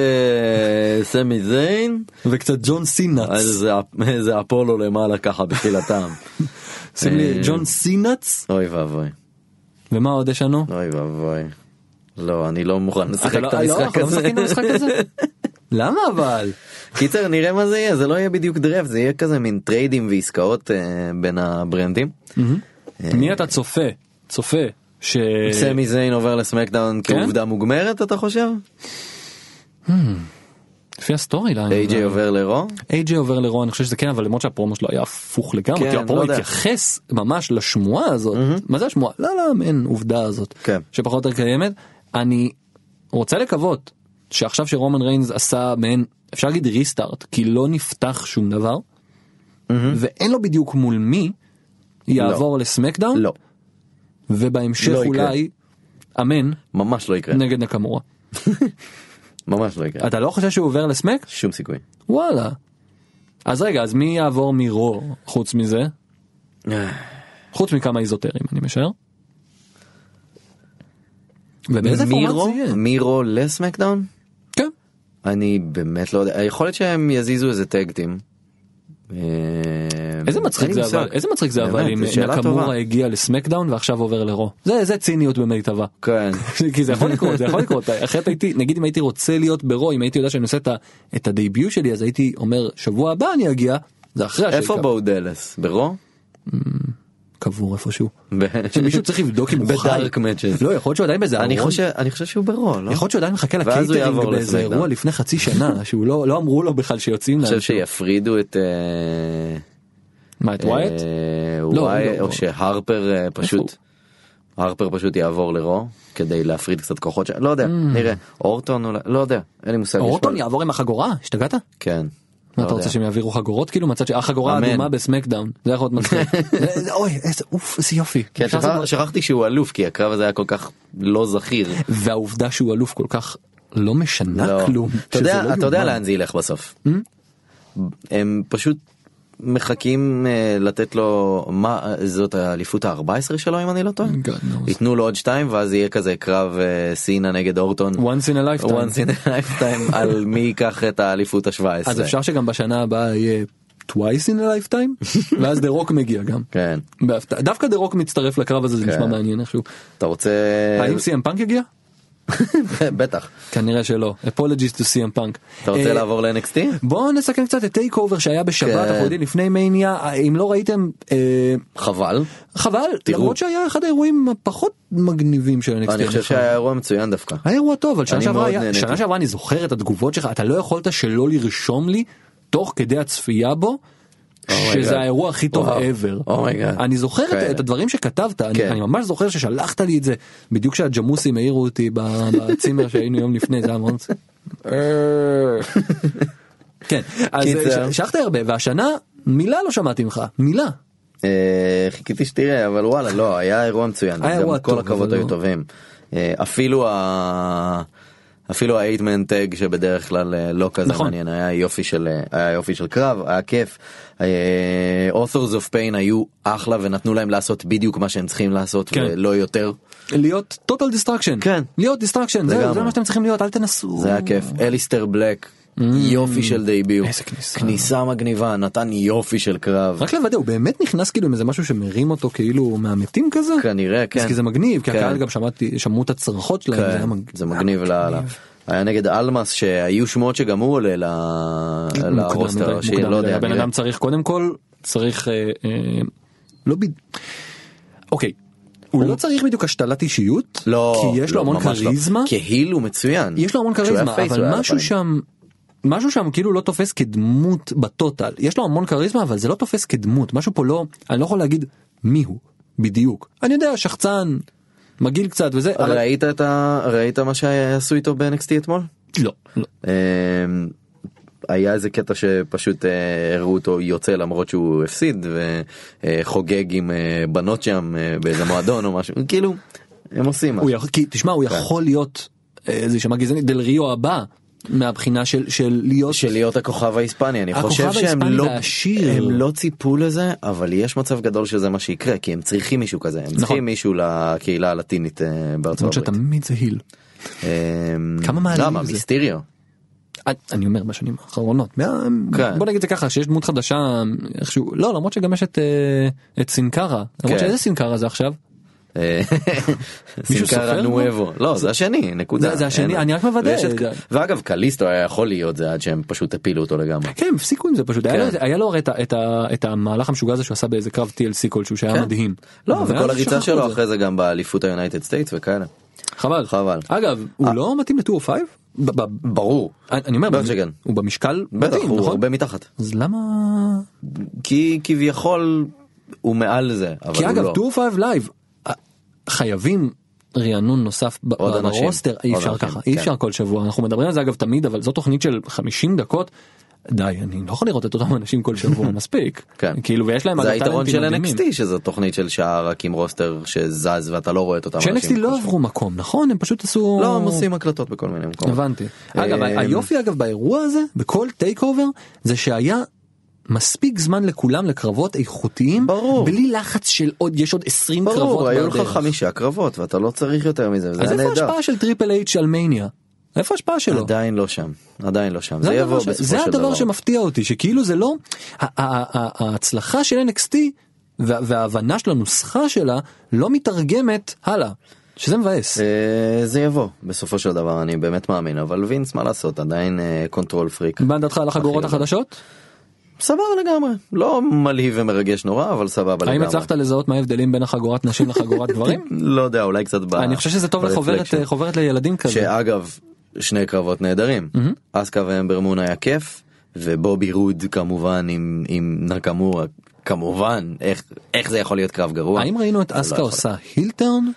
Speaker 4: סמי זיין,
Speaker 3: וקצת ג'ון
Speaker 4: אז
Speaker 3: סינאץ.
Speaker 4: זה אפ- זה אפולו למעלה ככה בתחילת טעם.
Speaker 3: שים לי
Speaker 4: אה.
Speaker 3: ג'ון סינאץ
Speaker 4: אוי ואבוי,
Speaker 3: ומה עוד יש לנו?
Speaker 4: אוי ואבוי. לא, אני לא מוכן לשחק
Speaker 3: אתה לא-
Speaker 4: את
Speaker 3: אה, לא,
Speaker 4: המשחק
Speaker 3: אנחנו לא
Speaker 4: הזה.
Speaker 3: משחקים את המשחק הזה? למה אבל?
Speaker 4: קיצר, נראה מה זה יהיה, זה לא יהיה בדיוק דראפט, זה יהיה כזה מין טריידים ועסקאות אה, בין הברנדים.
Speaker 3: אה. מי אתה צופה? צופה ש...
Speaker 4: סמי זיין עובר לסמקדאון
Speaker 3: כן?
Speaker 4: כעובדה מוגמרת, אתה חושב?
Speaker 3: לפי הסטורי ליין.
Speaker 4: איי-ג'יי
Speaker 3: אבל-
Speaker 4: עובר לרו?
Speaker 3: איי-ג'יי עובר לרו, אני חושב שזה כן, אבל למרות שהפרומו שלו היה הפוך לגמרי,
Speaker 4: כן,
Speaker 3: כי הפרומו
Speaker 4: לא יודע.
Speaker 3: התייחס ממש לשמועה הזאת, מה זה השמועה? לא, לא, אין עובדה הזאת,
Speaker 4: כן.
Speaker 3: שפחות או יותר קיימת. אני רוצה לקוות שעכשיו שרומן ריינס עשה מעין אפשר להגיד ריסטארט כי לא נפתח שום דבר ואין לו בדיוק מול מי יעבור לסמקדאון
Speaker 4: לא,
Speaker 3: ובהמשך
Speaker 4: לא יקרה.
Speaker 3: אולי אמן
Speaker 4: ממש לא יקרה.
Speaker 3: נגד נקמורה
Speaker 4: ממש לא יקרה.
Speaker 3: אתה לא חושב שהוא עובר לסמק
Speaker 4: שום סיכוי.
Speaker 3: וואלה. אז רגע אז מי יעבור מרו חוץ מזה אה. חוץ מכמה איזוטרים אני משער. ובאיזה פורמט
Speaker 4: מירו,
Speaker 3: זה יהיה?
Speaker 4: מירו לסמקדאון?
Speaker 3: כן.
Speaker 4: אני באמת לא יודע. יכול להיות שהם יזיזו איזה אה, טקטים.
Speaker 3: איזה מצחיק זה אבל איזה מצחיק זה אבל אם נקמורה הגיע לסמקדאון ועכשיו עובר לרו זה זה ציניות במיטבה.
Speaker 4: כן.
Speaker 3: כי זה יכול לקרות זה יכול לקרות אחרת הייתי נגיד אם הייתי רוצה להיות ברו אם הייתי יודע שאני עושה את ה- את הדייביוט שלי אז הייתי אומר שבוע הבא אני אגיע זה אחרי
Speaker 4: איפה
Speaker 3: השקע.
Speaker 4: בואו דלס? ברו?
Speaker 3: קבור איפשהו
Speaker 4: ב-
Speaker 3: שמישהו צריך לבדוק אם הוא חי.
Speaker 4: בדארק מאצ'ס.
Speaker 3: לא יכול להיות שהוא עדיין באיזה
Speaker 4: אני
Speaker 3: ארון.
Speaker 4: חושב אני חושב שהוא ברו,
Speaker 3: יכול
Speaker 4: לא?
Speaker 3: להיות שהוא עדיין מחכה
Speaker 4: ואז הוא
Speaker 3: לקייטרינג
Speaker 4: יעבור
Speaker 3: באיזה
Speaker 4: לסמקדאון.
Speaker 3: אירוע לפני חצי שנה שהוא לא לא אמרו לו בכלל שיוצאים
Speaker 4: אני
Speaker 3: להם.
Speaker 4: חושב שיפרידו את אה,
Speaker 3: מה את ווייט?
Speaker 4: אה,
Speaker 3: לא,
Speaker 4: וואי-
Speaker 3: לא, לא.
Speaker 4: או שהרפר אה, פשוט הרפר פשוט יעבור לרו כדי להפריד קצת כוחות שם לא יודע נראה אורטון אולי לא יודע אין לי מושג.
Speaker 3: Mm. אורטון
Speaker 4: יש פה-
Speaker 3: יעבור עם החגורה השתגעת?
Speaker 4: כן.
Speaker 3: מה
Speaker 4: לא
Speaker 3: אתה
Speaker 4: יודע.
Speaker 3: רוצה שהם יעבירו חגורות כאילו מצד שהחגורה
Speaker 4: אמן.
Speaker 3: האדומה בסמקדאון זה יכול להיות מצחיק. זה- אוי איזה אוף איזה יופי.
Speaker 4: כן,
Speaker 3: אפשר
Speaker 4: שכח-
Speaker 3: לעשות-
Speaker 4: שכחתי שהוא אלוף כי הקרב הזה היה כל כך לא זכיר.
Speaker 3: והעובדה שהוא אלוף כל כך לא משנה
Speaker 4: לא.
Speaker 3: כלום.
Speaker 4: אתה
Speaker 3: שזה
Speaker 4: יודע
Speaker 3: לא
Speaker 4: אתה יודע
Speaker 3: יאומן. Hmm?
Speaker 4: לאן זה ילך בסוף. הם פשוט מחכים אה, לתת לו מה זאת האליפות ה-14 שלו אם אני לא טועה.
Speaker 3: God knows.
Speaker 4: ייתנו לו עוד שתיים ואז יהיה כזה קרב אה, סינה נגד אורטון.
Speaker 3: once in a lifetime.
Speaker 4: once in a lifetime על מי ייקח את האליפות ה-17.
Speaker 3: אז אפשר שגם בשנה הבאה יהיה twice in a lifetime ואז דה רוק מגיע גם.
Speaker 4: כן.
Speaker 3: בהפתעה. דווקא דה רוק מצטרף לקרב הזה זה נשמע
Speaker 4: כן. אה,
Speaker 3: מעניין איכשהו.
Speaker 4: אתה רוצה...
Speaker 3: האם סי.אם פאנק הגיע?
Speaker 4: בטח.
Speaker 3: כנראה שלא. apologies to סי.אם פאנק.
Speaker 4: אתה
Speaker 3: אה,
Speaker 4: רוצה לעבור ל-NXT?
Speaker 3: בואו נסכם קצת את טייק אובר שהיה בשבת
Speaker 4: כן.
Speaker 3: אנחנו יודעים לפני מניה אם לא ראיתם אה,
Speaker 4: חבל.
Speaker 3: חבל
Speaker 4: תראו.
Speaker 3: למרות שהיה אחד האירועים הפחות מגניבים של NXT.
Speaker 4: אני חושב שהיה אירוע מצוין דפקה.
Speaker 3: היה אירוע טוב אבל שנה
Speaker 4: אני
Speaker 3: שעברה
Speaker 4: מאוד
Speaker 3: היה-
Speaker 4: נהניתי.
Speaker 3: שנה שעברה אני זוכר את התגובות שלך אתה לא יכולת שלא לרשום לי תוך כדי הצפייה בו.
Speaker 4: אומייגאד.
Speaker 3: שזה האירוע הכי טוב
Speaker 4: וואו.
Speaker 3: ever.
Speaker 4: אומייגאד.
Speaker 3: אני זוכר את-
Speaker 4: Oh כן.
Speaker 3: את הדברים שכתבת, אני
Speaker 4: כן.
Speaker 3: אני ממש זוכר ששלחת לי את זה, בדיוק כשהג'מוסים העירו אותי ב- בצימר שהיינו יום לפני, זה היה מאוד... כן, אז
Speaker 4: קיצר.
Speaker 3: ש- שלחת הרבה, והשנה מילה לא שמעתי ממך, מילה.
Speaker 4: אה, חיכיתי שתראה אבל וואלה לא היה אירוע מצוין.
Speaker 3: היה אירוע
Speaker 4: גם כל
Speaker 3: טוב,
Speaker 4: הכבוד
Speaker 3: אבל
Speaker 4: היו
Speaker 3: לא.
Speaker 4: טובים. אה, אפילו ה... אפילו האייטמן טג שבדרך כלל אה, לא כזה
Speaker 3: נכון.
Speaker 4: מעניין היה יופי של אה, היה יופי של קרב היה כיף. אה, Authors of Pain היו אחלה ונתנו להם לעשות בדיוק מה שהם צריכים לעשות
Speaker 3: כן.
Speaker 4: ולא יותר.
Speaker 3: להיות total distraction.
Speaker 4: כן.
Speaker 3: להיות distraction, זהו,
Speaker 4: לגמרי.
Speaker 3: זה מה שאתם צריכים להיות, אל תנסו.
Speaker 4: זה היה כיף. אליסטר בלק יופי של דייביו.
Speaker 3: Mm. איזה כניסה.
Speaker 4: כניסה מגניבה נתן יופי של קרב.
Speaker 3: רק לוודא הוא באמת נכנס כאילו עם איזה משהו שמרים אותו כאילו הוא מהמתים כזה
Speaker 4: כנראה
Speaker 3: אז
Speaker 4: כן.
Speaker 3: כי זה מגניב כי
Speaker 4: כן.
Speaker 3: הקהל גם שמעתי שמעו את הצרחות שלהם זה היה
Speaker 4: כן,
Speaker 3: מג-
Speaker 4: זה מגניב לאללה. היה נגד אלמאס שהיו שמועות שגם הוא עולה ל-
Speaker 3: מוקדם
Speaker 4: לרוסטר
Speaker 3: מדי,
Speaker 4: אה, הראשי,
Speaker 3: מוקדם
Speaker 4: לא
Speaker 3: מדי.
Speaker 4: יודע.
Speaker 3: הבן
Speaker 4: נראה.
Speaker 3: אדם צריך קודם כל צריך אה, אה, לא בד... אוקיי. הוא לא צריך בדיוק השתלת אישיות
Speaker 4: לא,
Speaker 3: כי יש לו
Speaker 4: לא,
Speaker 3: המון
Speaker 4: ממש לא.
Speaker 3: כריזמה
Speaker 4: כאילו מצוין.
Speaker 3: יש לו המון
Speaker 4: כשהוא היה
Speaker 3: כריזמה
Speaker 4: פייס הוא
Speaker 3: אבל
Speaker 4: היה
Speaker 3: משהו
Speaker 4: לפעמים.
Speaker 3: שם משהו שם כאילו לא תופס כדמות בטוטל יש לו המון כריזמה אבל זה לא תופס כדמות משהו פה לא אני לא יכול להגיד מי הוא בדיוק אני יודע שחצן מגעיל קצת וזה אבל
Speaker 4: ראית את ה... ראית מה שעשו איתו ב-NXT אתמול?
Speaker 3: לא לא.
Speaker 4: אמ, היה איזה קטע שפשוט אה, הראו אותו יוצא למרות שהוא הפסיד וחוגג עם אה, בנות שם אה, באיזה מועדון או משהו כאילו הם עושים משהו.
Speaker 3: הוא יכול, כי תשמע
Speaker 4: כן.
Speaker 3: הוא יכול להיות אה, זה שמע גזעני דל ריו הבא מהבחינה של של להיות
Speaker 4: של להיות הכוכב ההיספני אני
Speaker 3: הכוכב
Speaker 4: חושב שהם
Speaker 3: ההיספני
Speaker 4: לא
Speaker 3: והעשיר.
Speaker 4: הם לא ציפו לזה אבל יש מצב גדול שזה מה שיקרה כי הם צריכים מישהו כזה הם צריכים מישהו לקהילה הלטינית אה,
Speaker 3: נכון. למרות
Speaker 4: בארצות הברית.
Speaker 3: שתמיד זה היל.
Speaker 4: אמ,
Speaker 3: כמה מעלים
Speaker 4: למה
Speaker 3: זה?
Speaker 4: מיסטריו
Speaker 3: אני- אני אומר בשנים האחרונות מה-
Speaker 4: כן.
Speaker 3: בוא נגיד את זה ככה שיש דמות חדשה איכשהו לא למרות שגם יש את אה, את סינקרה למרות
Speaker 4: כן.
Speaker 3: שאיזה סינקרה זה עכשיו
Speaker 4: אה, סינקרה
Speaker 3: סופר?
Speaker 4: נואבו לא זה השני נקודה
Speaker 3: זה- זה השני,
Speaker 4: אין-
Speaker 3: אני רק מוודא.
Speaker 4: ויש את-
Speaker 3: זה-
Speaker 4: ואגב קליסטו היה יכול להיות זה עד שהם פשוט הפילו אותו לגמרי.
Speaker 3: כן, הם הפסיקו עם זה פשוט. היה
Speaker 4: כן.
Speaker 3: לו את- היה לו הרי את ה- את ה- את המהלך המשוגע הזה שהוא עשה באיזה קרב TLC כלשהו שהיה
Speaker 4: כן.
Speaker 3: מדהים.
Speaker 4: לא
Speaker 3: אבל
Speaker 4: וכל
Speaker 3: אז
Speaker 4: הריצה
Speaker 3: שכחו
Speaker 4: שלו
Speaker 3: את זה.
Speaker 4: אחרי זה גם באליפות היונייטד סטייטס וכאלה.
Speaker 3: חבל.
Speaker 4: חבל. אה.
Speaker 3: אגב, הוא לא מתאים לטור פייב? ב- ב-
Speaker 4: ברור.
Speaker 3: אני אני אומר,
Speaker 4: בטח שכן.
Speaker 3: הוא במשקל
Speaker 4: בטח
Speaker 3: מתאים,
Speaker 4: הוא
Speaker 3: נכון?
Speaker 4: הרבה מתחת.
Speaker 3: אז למה...
Speaker 4: כי כביכול הוא מעל זה אבל
Speaker 3: כי
Speaker 4: הוא
Speaker 3: אגב, oh
Speaker 4: לא.
Speaker 3: טור פייב לייב, אה, חייבים רענון נוסף ב-
Speaker 4: עוד
Speaker 3: ב-
Speaker 4: אנשים,
Speaker 3: ברוסטר אי
Speaker 4: עוד
Speaker 3: אפשר
Speaker 4: אנשים,
Speaker 3: ככה אי
Speaker 4: כן.
Speaker 3: אפשר כל שבוע אנחנו מדברים על זה אגב תמיד אבל זו תוכנית של 50 דקות. די אני לא יכול לראות את אותם אנשים כל שבוע מספיק
Speaker 4: כן.
Speaker 3: כאילו ויש להם
Speaker 4: זה
Speaker 3: אגב
Speaker 4: היתרון
Speaker 3: טאלנטים
Speaker 4: של
Speaker 3: מדהימים.
Speaker 4: NXT שזו תוכנית של שעה רק עם רוסטר שזז ואתה לא רואה את אותם
Speaker 3: ש-NXT לא עברו מקום נכון הם פשוט עשו
Speaker 4: לא הם עושים הקלטות בכל מיני מקומות.
Speaker 3: הבנתי. אגב
Speaker 4: אה,
Speaker 3: היופי אגב באירוע הזה בכל טייק אובר זה שהיה מספיק זמן לכולם לקרבות איכותיים
Speaker 4: ברור.
Speaker 3: בלי לחץ של עוד יש עוד 20 קרבות.
Speaker 4: ברור היו לך
Speaker 3: בדרך.
Speaker 4: חמישה קרבות ואתה לא צריך יותר מזה וזה
Speaker 3: אז
Speaker 4: היה
Speaker 3: איפה
Speaker 4: נהדר.
Speaker 3: ההשפעה של טריפל אייץ' על מניה? איפה ההשפעה שלו?
Speaker 4: עדיין לא שם עדיין לא שם זה
Speaker 3: זה
Speaker 4: יבוא
Speaker 3: הדבר, ש...
Speaker 4: בסופו
Speaker 3: זה
Speaker 4: של
Speaker 3: הדבר
Speaker 4: דבר.
Speaker 3: שמפתיע אותי שכאילו זה לא ה- ה- ה- ההצלחה של NXT וה- וההבנה של הנוסחה שלה לא מתרגמת הלאה שזה מבאס.
Speaker 4: אה, זה יבוא בסופו של דבר אני באמת מאמין אבל וינס מה לעשות עדיין אה, קונטרול פריק
Speaker 3: מה דעתך על החגורות
Speaker 4: הכי גדול.
Speaker 3: החדשות?
Speaker 4: סבבה לגמרי לא מלהיב ומרגש נורא אבל סבבה
Speaker 3: האם
Speaker 4: לגמרי.
Speaker 3: הצלחת לזהות מה ההבדלים בין החגורת נשים לחגורת גברים?
Speaker 4: לא יודע אולי קצת ב...
Speaker 3: אני חושב שזה טוב לחוברת
Speaker 4: ברפלקשן.
Speaker 3: אה, חוברת לילדים כזה. Mm-hmm.
Speaker 4: שאגב שני קרבות נהדרים אסקה ואמבר מון היה כיף ובובי רוד כמובן עם עם נקמורה כמובן איך איך זה יכול להיות קרב גרוע
Speaker 3: האם ראינו את
Speaker 4: זה לא
Speaker 3: אסקה
Speaker 4: יכול.
Speaker 3: עושה הילטרן?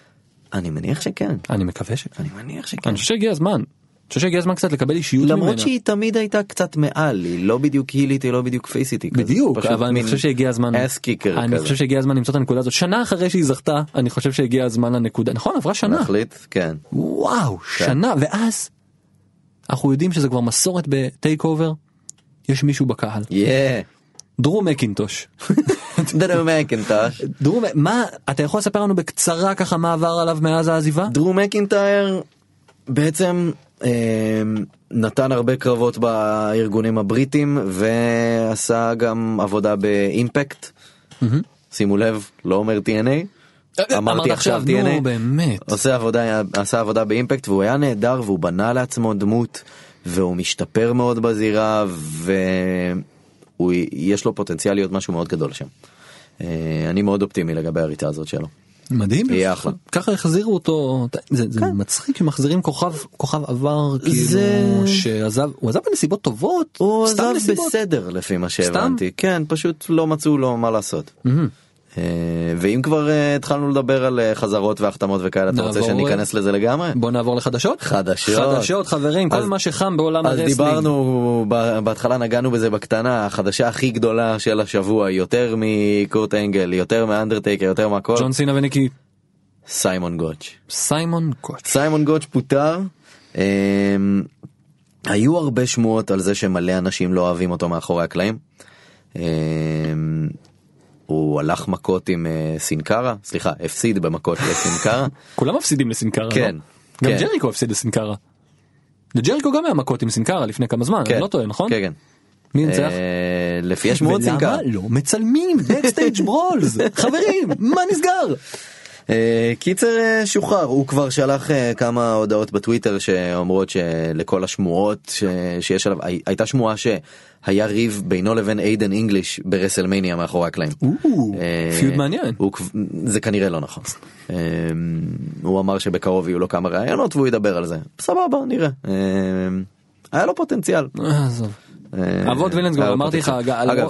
Speaker 4: אני מניח שכן
Speaker 3: אני מקווה שכן.
Speaker 4: אני מניח שכן
Speaker 3: אני חושב שהגיע הזמן. אני חושב שהגיע הזמן קצת לקבל אישיות ממנה.
Speaker 4: למרות שהיא תמיד הייתה קצת מעל היא לא בדיוק הילית היא לא בדיוק פייסית היא כזה,
Speaker 3: בדיוק
Speaker 4: פשוט
Speaker 3: אבל אני
Speaker 4: מין
Speaker 3: חושב שהגיע הזמן
Speaker 4: ass kicker
Speaker 3: אני
Speaker 4: כזה.
Speaker 3: חושב שהגיע הזמן למצוא את הנקודה הזאת שנה אחרי שהיא זכתה אני חושב שהגיע הזמן לנקודה נכון עברה שנה
Speaker 4: נחליט כן
Speaker 3: וואו שנה ואז אנחנו יודעים שזה כבר מסורת בטייק אובר יש מישהו בקהל
Speaker 4: יאה
Speaker 3: דרום מקינטוש
Speaker 4: דרו מקינטש
Speaker 3: דרום מה אתה יכול לספר לנו בקצרה ככה מה עבר עליו מאז העזיבה
Speaker 4: דרו מקינטייר בעצם אה, נתן הרבה קרבות בארגונים הבריטים ועשה גם עבודה באימפקט. שימו לב לא אומר TNA.
Speaker 3: אה, אמרת
Speaker 4: אמרתי עכשיו
Speaker 3: עכשיו, נו,
Speaker 4: TNA.
Speaker 3: באמת.
Speaker 4: עושה עבודה עשה עבודה באימפקט והוא היה נהדר והוא בנה לעצמו דמות והוא משתפר מאוד בזירה ויש לו פוטנציאל להיות משהו מאוד גדול שם. אה, אני מאוד אופטימי לגבי הריצה הזאת שלו.
Speaker 3: מדהים
Speaker 4: יהיה אחלה. כן.
Speaker 3: ככה החזירו אותו זה, זה מצחיק שמחזירים כוכב כוכב עבר כאילו
Speaker 4: זה-
Speaker 3: שעזב הוא עזב בנסיבות טובות
Speaker 4: הוא
Speaker 3: סתם
Speaker 4: עזב
Speaker 3: נסיבות.
Speaker 4: בסדר לפי מה שהבנתי כן פשוט לא מצאו לו מה לעשות.
Speaker 3: Mm-hmm.
Speaker 4: אה, ואם כבר אה, התחלנו לדבר על אה, חזרות והחתמות וכאלה אתה רוצה
Speaker 3: נעבור, אה?
Speaker 4: שניכנס לזה לגמרי?
Speaker 3: בוא נעבור לחדשות
Speaker 4: חדשות.
Speaker 3: חדשות חברים כל
Speaker 4: אז-
Speaker 3: מה שחם בעולם
Speaker 4: אז
Speaker 3: הרסלינג.
Speaker 4: דיברנו ב- בהתחלה נגענו בזה בקטנה החדשה הכי גדולה של השבוע יותר מקורט אנגל יותר מאנדרטייקר יותר מהכל
Speaker 3: ג'ון סינה וניקי
Speaker 4: סיימון גוטש.
Speaker 3: סיימון קוץ'.
Speaker 4: סיימון גוטש פוטר. אמ, היו הרבה שמועות על זה שמלא אנשים לא אוהבים אותו מאחורי הקלעים. אמ, הוא הלך מכות עם אה, סינקרה, סליחה, הפסיד במכות לסינקרה.
Speaker 3: כולם מפסידים לסינקרה
Speaker 4: כן,
Speaker 3: לא? גם
Speaker 4: כן.
Speaker 3: ג'ריקו הפסיד לסינקרה. לג'ריקו גם היה מכות עם סינקרה לפני כמה זמן אני לא טועה נכון?
Speaker 4: כן, כן.
Speaker 3: מי ניצח?
Speaker 4: אה, לפי השמועות סינקרה.
Speaker 3: ולמה לא מצלמים בקסטייג' ברולס חברים מה נסגר?
Speaker 4: אה, קיצר אה, שוחרר הוא כבר שלח אה, כמה הודעות בטוויטר שאומרות שלכל השמועות ש... שיש עליו הי- הייתה שמועה שהיה ריב בינו לבין איידן אינגליש ברסלמניה מאחורי הקלעים. אה,
Speaker 3: פיוד מעניין.
Speaker 4: הוא... כב- זה כנראה לא נכון. אה, הוא אמר שבקרוב יהיו לו כמה ראיונות והוא ידבר על זה סבבה נראה. אה, היה לו פוטנציאל.
Speaker 3: אה, עזוב.
Speaker 4: אה,
Speaker 3: אבות וילנס, גם
Speaker 4: היה לו
Speaker 3: אמרתי לך,
Speaker 4: פוטנציאל.
Speaker 3: אגב,
Speaker 4: אגב,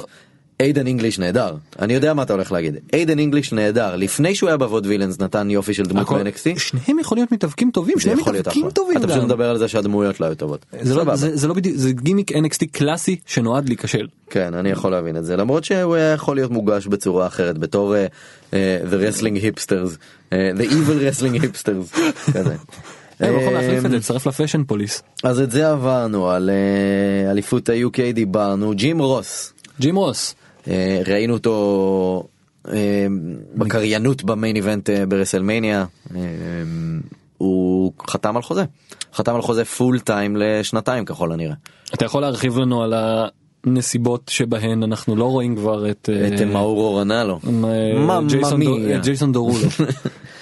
Speaker 4: איידן אינגליש נהדר אני יודע מה אתה הולך להגיד איידן אינגליש נהדר לפני שהוא היה באבות וילנס נתן יופי של דמות
Speaker 3: הכל-
Speaker 4: ב-NXT.
Speaker 3: שניהם יכול להיות מתאבקים טובים,
Speaker 4: זה
Speaker 3: שניהם
Speaker 4: יכול להיות
Speaker 3: מתאבקים
Speaker 4: אחלה.
Speaker 3: טובים
Speaker 4: אתה פשוט
Speaker 3: גם.
Speaker 4: מדבר על זה שהדמויות לא היו טובות.
Speaker 3: זה לא-
Speaker 4: סבבה.
Speaker 3: זה זה לא בדיוק, זה גימיק NXT קלאסי שנועד להיכשל.
Speaker 4: כן אני יכול להבין את זה למרות שהוא היה יכול להיות מוגש בצורה אחרת בתור אה, אה, the wrestling hipsters אה, the evil wrestling hipsters. כזה.
Speaker 3: אה, הוא יכול להחליף את זה,
Speaker 4: אה,
Speaker 3: להצטרף לפאשן פוליס.
Speaker 4: אז את זה עברנו על אה, אליפות ה-UK דיברנו ג'ים רוס
Speaker 3: ג'ים רוס.
Speaker 4: אה, ראינו אותו אה, בקריינות במיין איבנט אה, ברסלמניה אה, הוא חתם על חוזה חתם על חוזה פול טיים לשנתיים ככל הנראה
Speaker 3: אתה יכול להרחיב לנו על הנסיבות שבהן אנחנו לא רואים כבר את אה,
Speaker 4: את מאורו רנלו
Speaker 3: אה,
Speaker 4: מממה
Speaker 3: ג'ייסון דו-
Speaker 4: מיה.
Speaker 3: אה, ג'ייסון דורולו.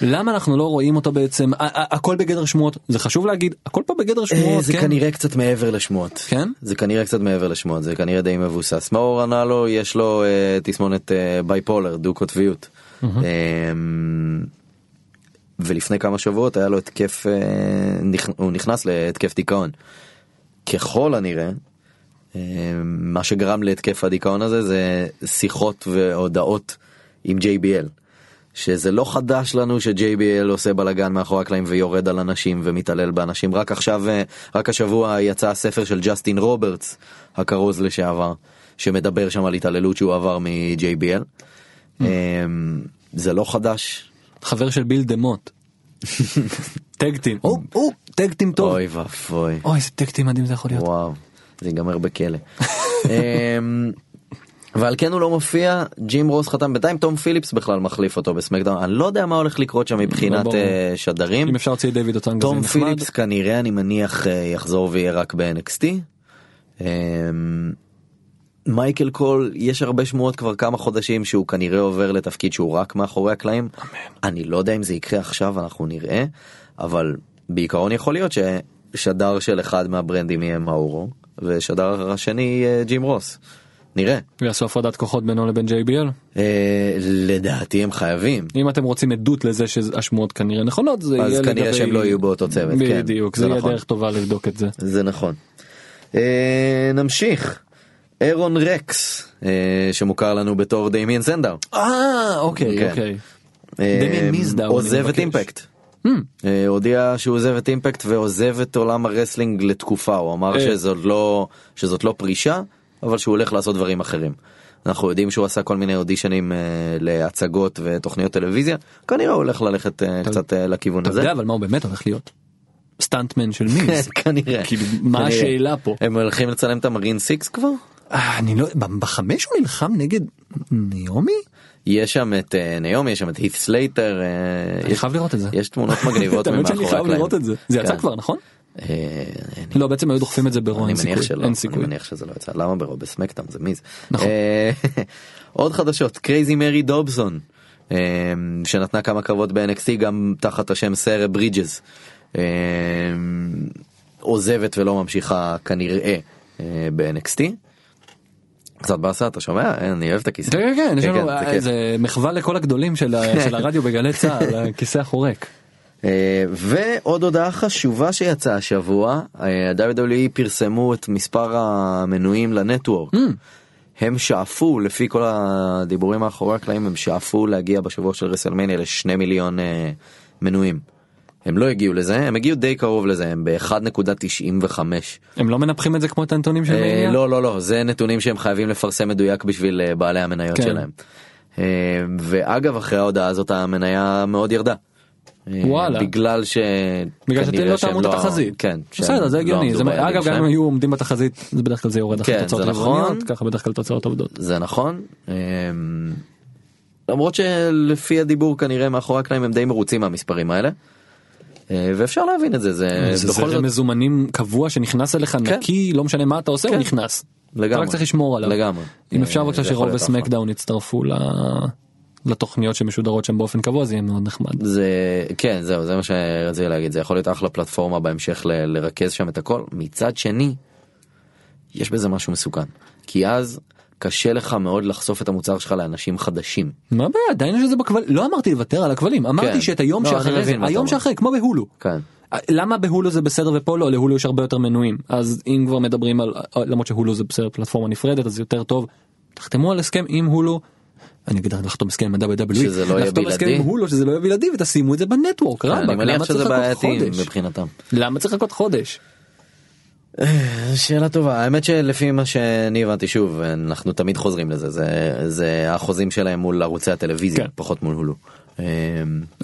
Speaker 3: למה אנחנו לא רואים אותו בעצם? ה- ה- הכל בגדר שמועות, זה חשוב להגיד, הכל פה בגדר
Speaker 4: אה,
Speaker 3: שמועות,
Speaker 4: זה
Speaker 3: כן?
Speaker 4: כנראה קצת מעבר לשמועות
Speaker 3: כן?
Speaker 4: זה כנראה קצת מעבר לשמועות זה כנראה די מבוסס מאור רנלו יש לו אה, תסמונת אה, בייפולר דו קוטביות. אה, ולפני כמה שבועות היה לו התקף אה, נכ... הוא נכנס להתקף דיכאון. ככל הנראה אה, מה שגרם להתקף הדיכאון הזה זה שיחות והודעות עם JBL. שזה לא חדש לנו ש-JBL עושה בלאגן מאחורי הקלעים ויורד על אנשים ומתעלל באנשים. רק עכשיו, אה, רק השבוע יצא הספר של ג'סטין רוברטס, הכרוז לשעבר, שמדבר שם על התעללות שהוא עבר מ-JBL. זה לא חדש.
Speaker 3: חבר של ביל דה מוט. טג טים. או, או, טג טים טוב.
Speaker 4: אוי ואבוי.
Speaker 3: אוי, איזה טג טים מדהים זה יכול להיות.
Speaker 4: וואו, זה ייגמר בכלא. אמ, ועל כן הוא לא מופיע, ג'ים רוס חתם, בינתיים תום פיליפס בכלל מחליף אותו בסמקדאון, אני לא יודע מה הולך לקרות שם מבחינת
Speaker 3: לא ברור.
Speaker 4: אה, שדרים.
Speaker 3: אם אפשר להוציא את דיוויד אותן
Speaker 4: תום
Speaker 3: נחמד.
Speaker 4: פיליפס כנראה אני מניח אה, יחזור ויהיה רק ב-NXT. אמ, מייקל קול יש הרבה שמועות כבר כמה חודשים שהוא כנראה עובר לתפקיד שהוא רק מאחורי הקלעים. אני לא יודע אם זה יקרה עכשיו אנחנו נראה אבל בעיקרון יכול להיות ששדר של אחד מהברנדים יהיה מאורו ושדר השני יהיה ג'ים רוס. נראה.
Speaker 3: ויעשו הפרדת כוחות בינו לבין JBL.
Speaker 4: אה, לדעתי הם חייבים.
Speaker 3: אם אתם רוצים עדות לזה שהשמועות כנראה נכונות, זה יהיה
Speaker 4: אז
Speaker 3: לגבי...
Speaker 4: כנראה שהם לא יהיו באותו צוות. כן,
Speaker 3: בדיוק,
Speaker 4: זה
Speaker 3: זה יהיה
Speaker 4: נכון.
Speaker 3: דרך טובה לבדוק את זה.
Speaker 4: זה נכון. אה, נמשיך. אירון רקס אה, שמוכר לנו בתור דמיין סנדר.
Speaker 3: אה,
Speaker 4: כן.
Speaker 3: אוקיי, אוקיי.
Speaker 4: אה,
Speaker 3: דמיין מיזדאו, אני
Speaker 4: עוזב
Speaker 3: מבקש. Hmm.
Speaker 4: את אימפקט. אה, הודיע שהוא עוזב את אימפקט ועוזב את עולם הרסלינג לתקופה הוא אמר
Speaker 3: אה.
Speaker 4: שזאת לא שזאת לא פרישה אבל שהוא הולך לעשות דברים אחרים. אנחנו יודעים שהוא עשה כל מיני אודישנים אה, להצגות ותוכניות טלוויזיה כנראה הוא הולך ללכת אה, קצת אה, לכיוון
Speaker 3: אתה
Speaker 4: הזה.
Speaker 3: יודע אבל מה הוא באמת הולך להיות? סטנטמן של מיז.
Speaker 4: כן, כנראה.
Speaker 3: כאילו, מה
Speaker 4: כנראה.
Speaker 3: השאלה פה?
Speaker 4: הם הולכים לצלם את המרין סיקס כבר?
Speaker 3: אה, אני לא... ב- בחמש הוא נלחם נגד נעמי?
Speaker 4: יש שם את אה, נעמי, יש שם את הית סלייטר, אה,
Speaker 3: אני
Speaker 4: יש-
Speaker 3: חייב לראות את זה.
Speaker 4: יש תמונות מגניבות
Speaker 3: האמת שאני
Speaker 4: ממאחורי
Speaker 3: חייב
Speaker 4: הקלעים.
Speaker 3: לראות את זה. זה יצא
Speaker 4: כן.
Speaker 3: כבר, נכון?
Speaker 4: אה, אני-
Speaker 3: לא, בעצם היו דוחפים את זה ברון,
Speaker 4: אני
Speaker 3: אין
Speaker 4: מניח
Speaker 3: סיכוי.
Speaker 4: שלא,
Speaker 3: אין
Speaker 4: אני
Speaker 3: סיכוי.
Speaker 4: מניח שזה לא יצא, למה ברוב בסמקטאם זה מי זה.
Speaker 3: נכון.
Speaker 4: אה, עוד חדשות, קרייזי מרי דובסון, אה, שנתנה כמה קרבות ב-NXT גם תחת השם סרה ברידג'ס, אה, עוזבת ולא ממשיכה כנראה אה, ב-NXT. קצת באסה, אתה שומע? אה, אני אוהב את הכיסא.
Speaker 3: כן, כן, כן, יש לנו
Speaker 4: זה
Speaker 3: אה,
Speaker 4: כיף.
Speaker 3: זה מחווה לכל הגדולים של ה- של הרדיו בגלי צה"ל, הכיסא החורק.
Speaker 4: אה, ועוד הודעה חשובה שיצאה השבוע, אה, ה-WWE E פרסמו את מספר המנויים לנטוורק. הם שאפו, לפי כל הדיבורים מאחורי הקלעים, הם שאפו להגיע בשבוע של רסלמניה לשני מיליון אה, מנויים. הם לא הגיעו לזה, הם הגיעו די קרוב לזה, הם ב-1.95.
Speaker 3: הם לא מנפחים את זה כמו את הנתונים של
Speaker 4: אה,
Speaker 3: מניה?
Speaker 4: לא, לא, לא, זה נתונים שהם חייבים לפרסם מדויק בשביל אה, בעלי המניות
Speaker 3: כן.
Speaker 4: שלהם. אה, ואגב, אחרי ההודעה הזאת המניה מאוד ירדה. אה,
Speaker 3: וואלה.
Speaker 4: בגלל ש...
Speaker 3: בגלל שאתם
Speaker 4: כנראה
Speaker 3: לא
Speaker 4: שהם
Speaker 3: תעמוד התחזית.
Speaker 4: כן. שהם
Speaker 3: בסדר, זה
Speaker 4: לא
Speaker 3: הגיוני.
Speaker 4: עמדו
Speaker 3: זה-
Speaker 4: ביעדים
Speaker 3: אגב, גם
Speaker 4: שלהם.
Speaker 3: אם היו עומדים בתחזית, זה בדרך כלל זה יורד אחרי
Speaker 4: כן, זה
Speaker 3: תוצאות
Speaker 4: נכון.
Speaker 3: רבעוניות, ככה בדרך כלל תוצאות עובדות.
Speaker 4: זה נכון. אה, למרות שלפי הדיבור כנראה מאחורי הקלעים הם די מרוצים מהמספרים האלה. אה, ואפשר להבין את זה, זה
Speaker 3: זה
Speaker 4: אה, בכל
Speaker 3: זרם
Speaker 4: זאת כן.
Speaker 3: מזומנים קבוע שנכנס אליך נקי, לא משנה מה אתה עושה, הוא נכנס. אתה
Speaker 4: לגמרי.
Speaker 3: רק צריך לשמור עליו.
Speaker 4: לגמרי.
Speaker 3: אם
Speaker 4: כן. אה,
Speaker 3: אפשר בבקשה
Speaker 4: זה יכול
Speaker 3: שרוב
Speaker 4: להיות אחלה.
Speaker 3: וסמקדאון יצטרפו ל- לתוכניות שמשודרות שם באופן קבוע, זה יהיה מאוד נחמד.
Speaker 4: זה כן זהו זה מה שרציתי להגיד זה יכול להיות אחלה פלטפורמה בהמשך ל, לרכז שם את הכל מצד שני. יש בזה משהו מסוכן כי אז קשה לך מאוד לחשוף את המוצר שלך לאנשים חדשים.
Speaker 3: מה הבעיה? עדיין יש את זה בכבלים. לא אמרתי לוותר על הכבלים,
Speaker 4: כן.
Speaker 3: אמרתי שאת היום
Speaker 4: לא, אני
Speaker 3: שאחרי, זה-
Speaker 4: מבין מה אתה
Speaker 3: היום
Speaker 4: אומר.
Speaker 3: שאחרי, כמו בהולו. אה,
Speaker 4: כן.
Speaker 3: למה בהולו זה בסדר ופה לא? להולו יש הרבה יותר מנויים. אז אם כבר מדברים על, אה, למרות שהולו זה בסדר פלטפורמה נפרדת, אז יותר טוב. תחתמו על הסכם עם הולו. אני אגיד לך לחתום הסכם עם ה-WWE,
Speaker 4: שזה לא יהיה
Speaker 3: לחתום הסכם
Speaker 4: בלעדי.
Speaker 3: עם הולו שזה לא יהיה בלעדי ותשימו את זה בנטוורק, רבאק,
Speaker 4: אני מניח
Speaker 3: למה צריך
Speaker 4: שזה
Speaker 3: לחכות
Speaker 4: בעייתי
Speaker 3: חודש?
Speaker 4: מבחינתם.
Speaker 3: למה צריך לחכות חודש?
Speaker 4: שאלה טובה האמת שלפי מה שאני הבנתי שוב אנחנו תמיד חוזרים לזה זה זה החוזים שלהם מול ערוצי הטלוויזיה
Speaker 3: כן.
Speaker 4: פחות מול הולו. אמ,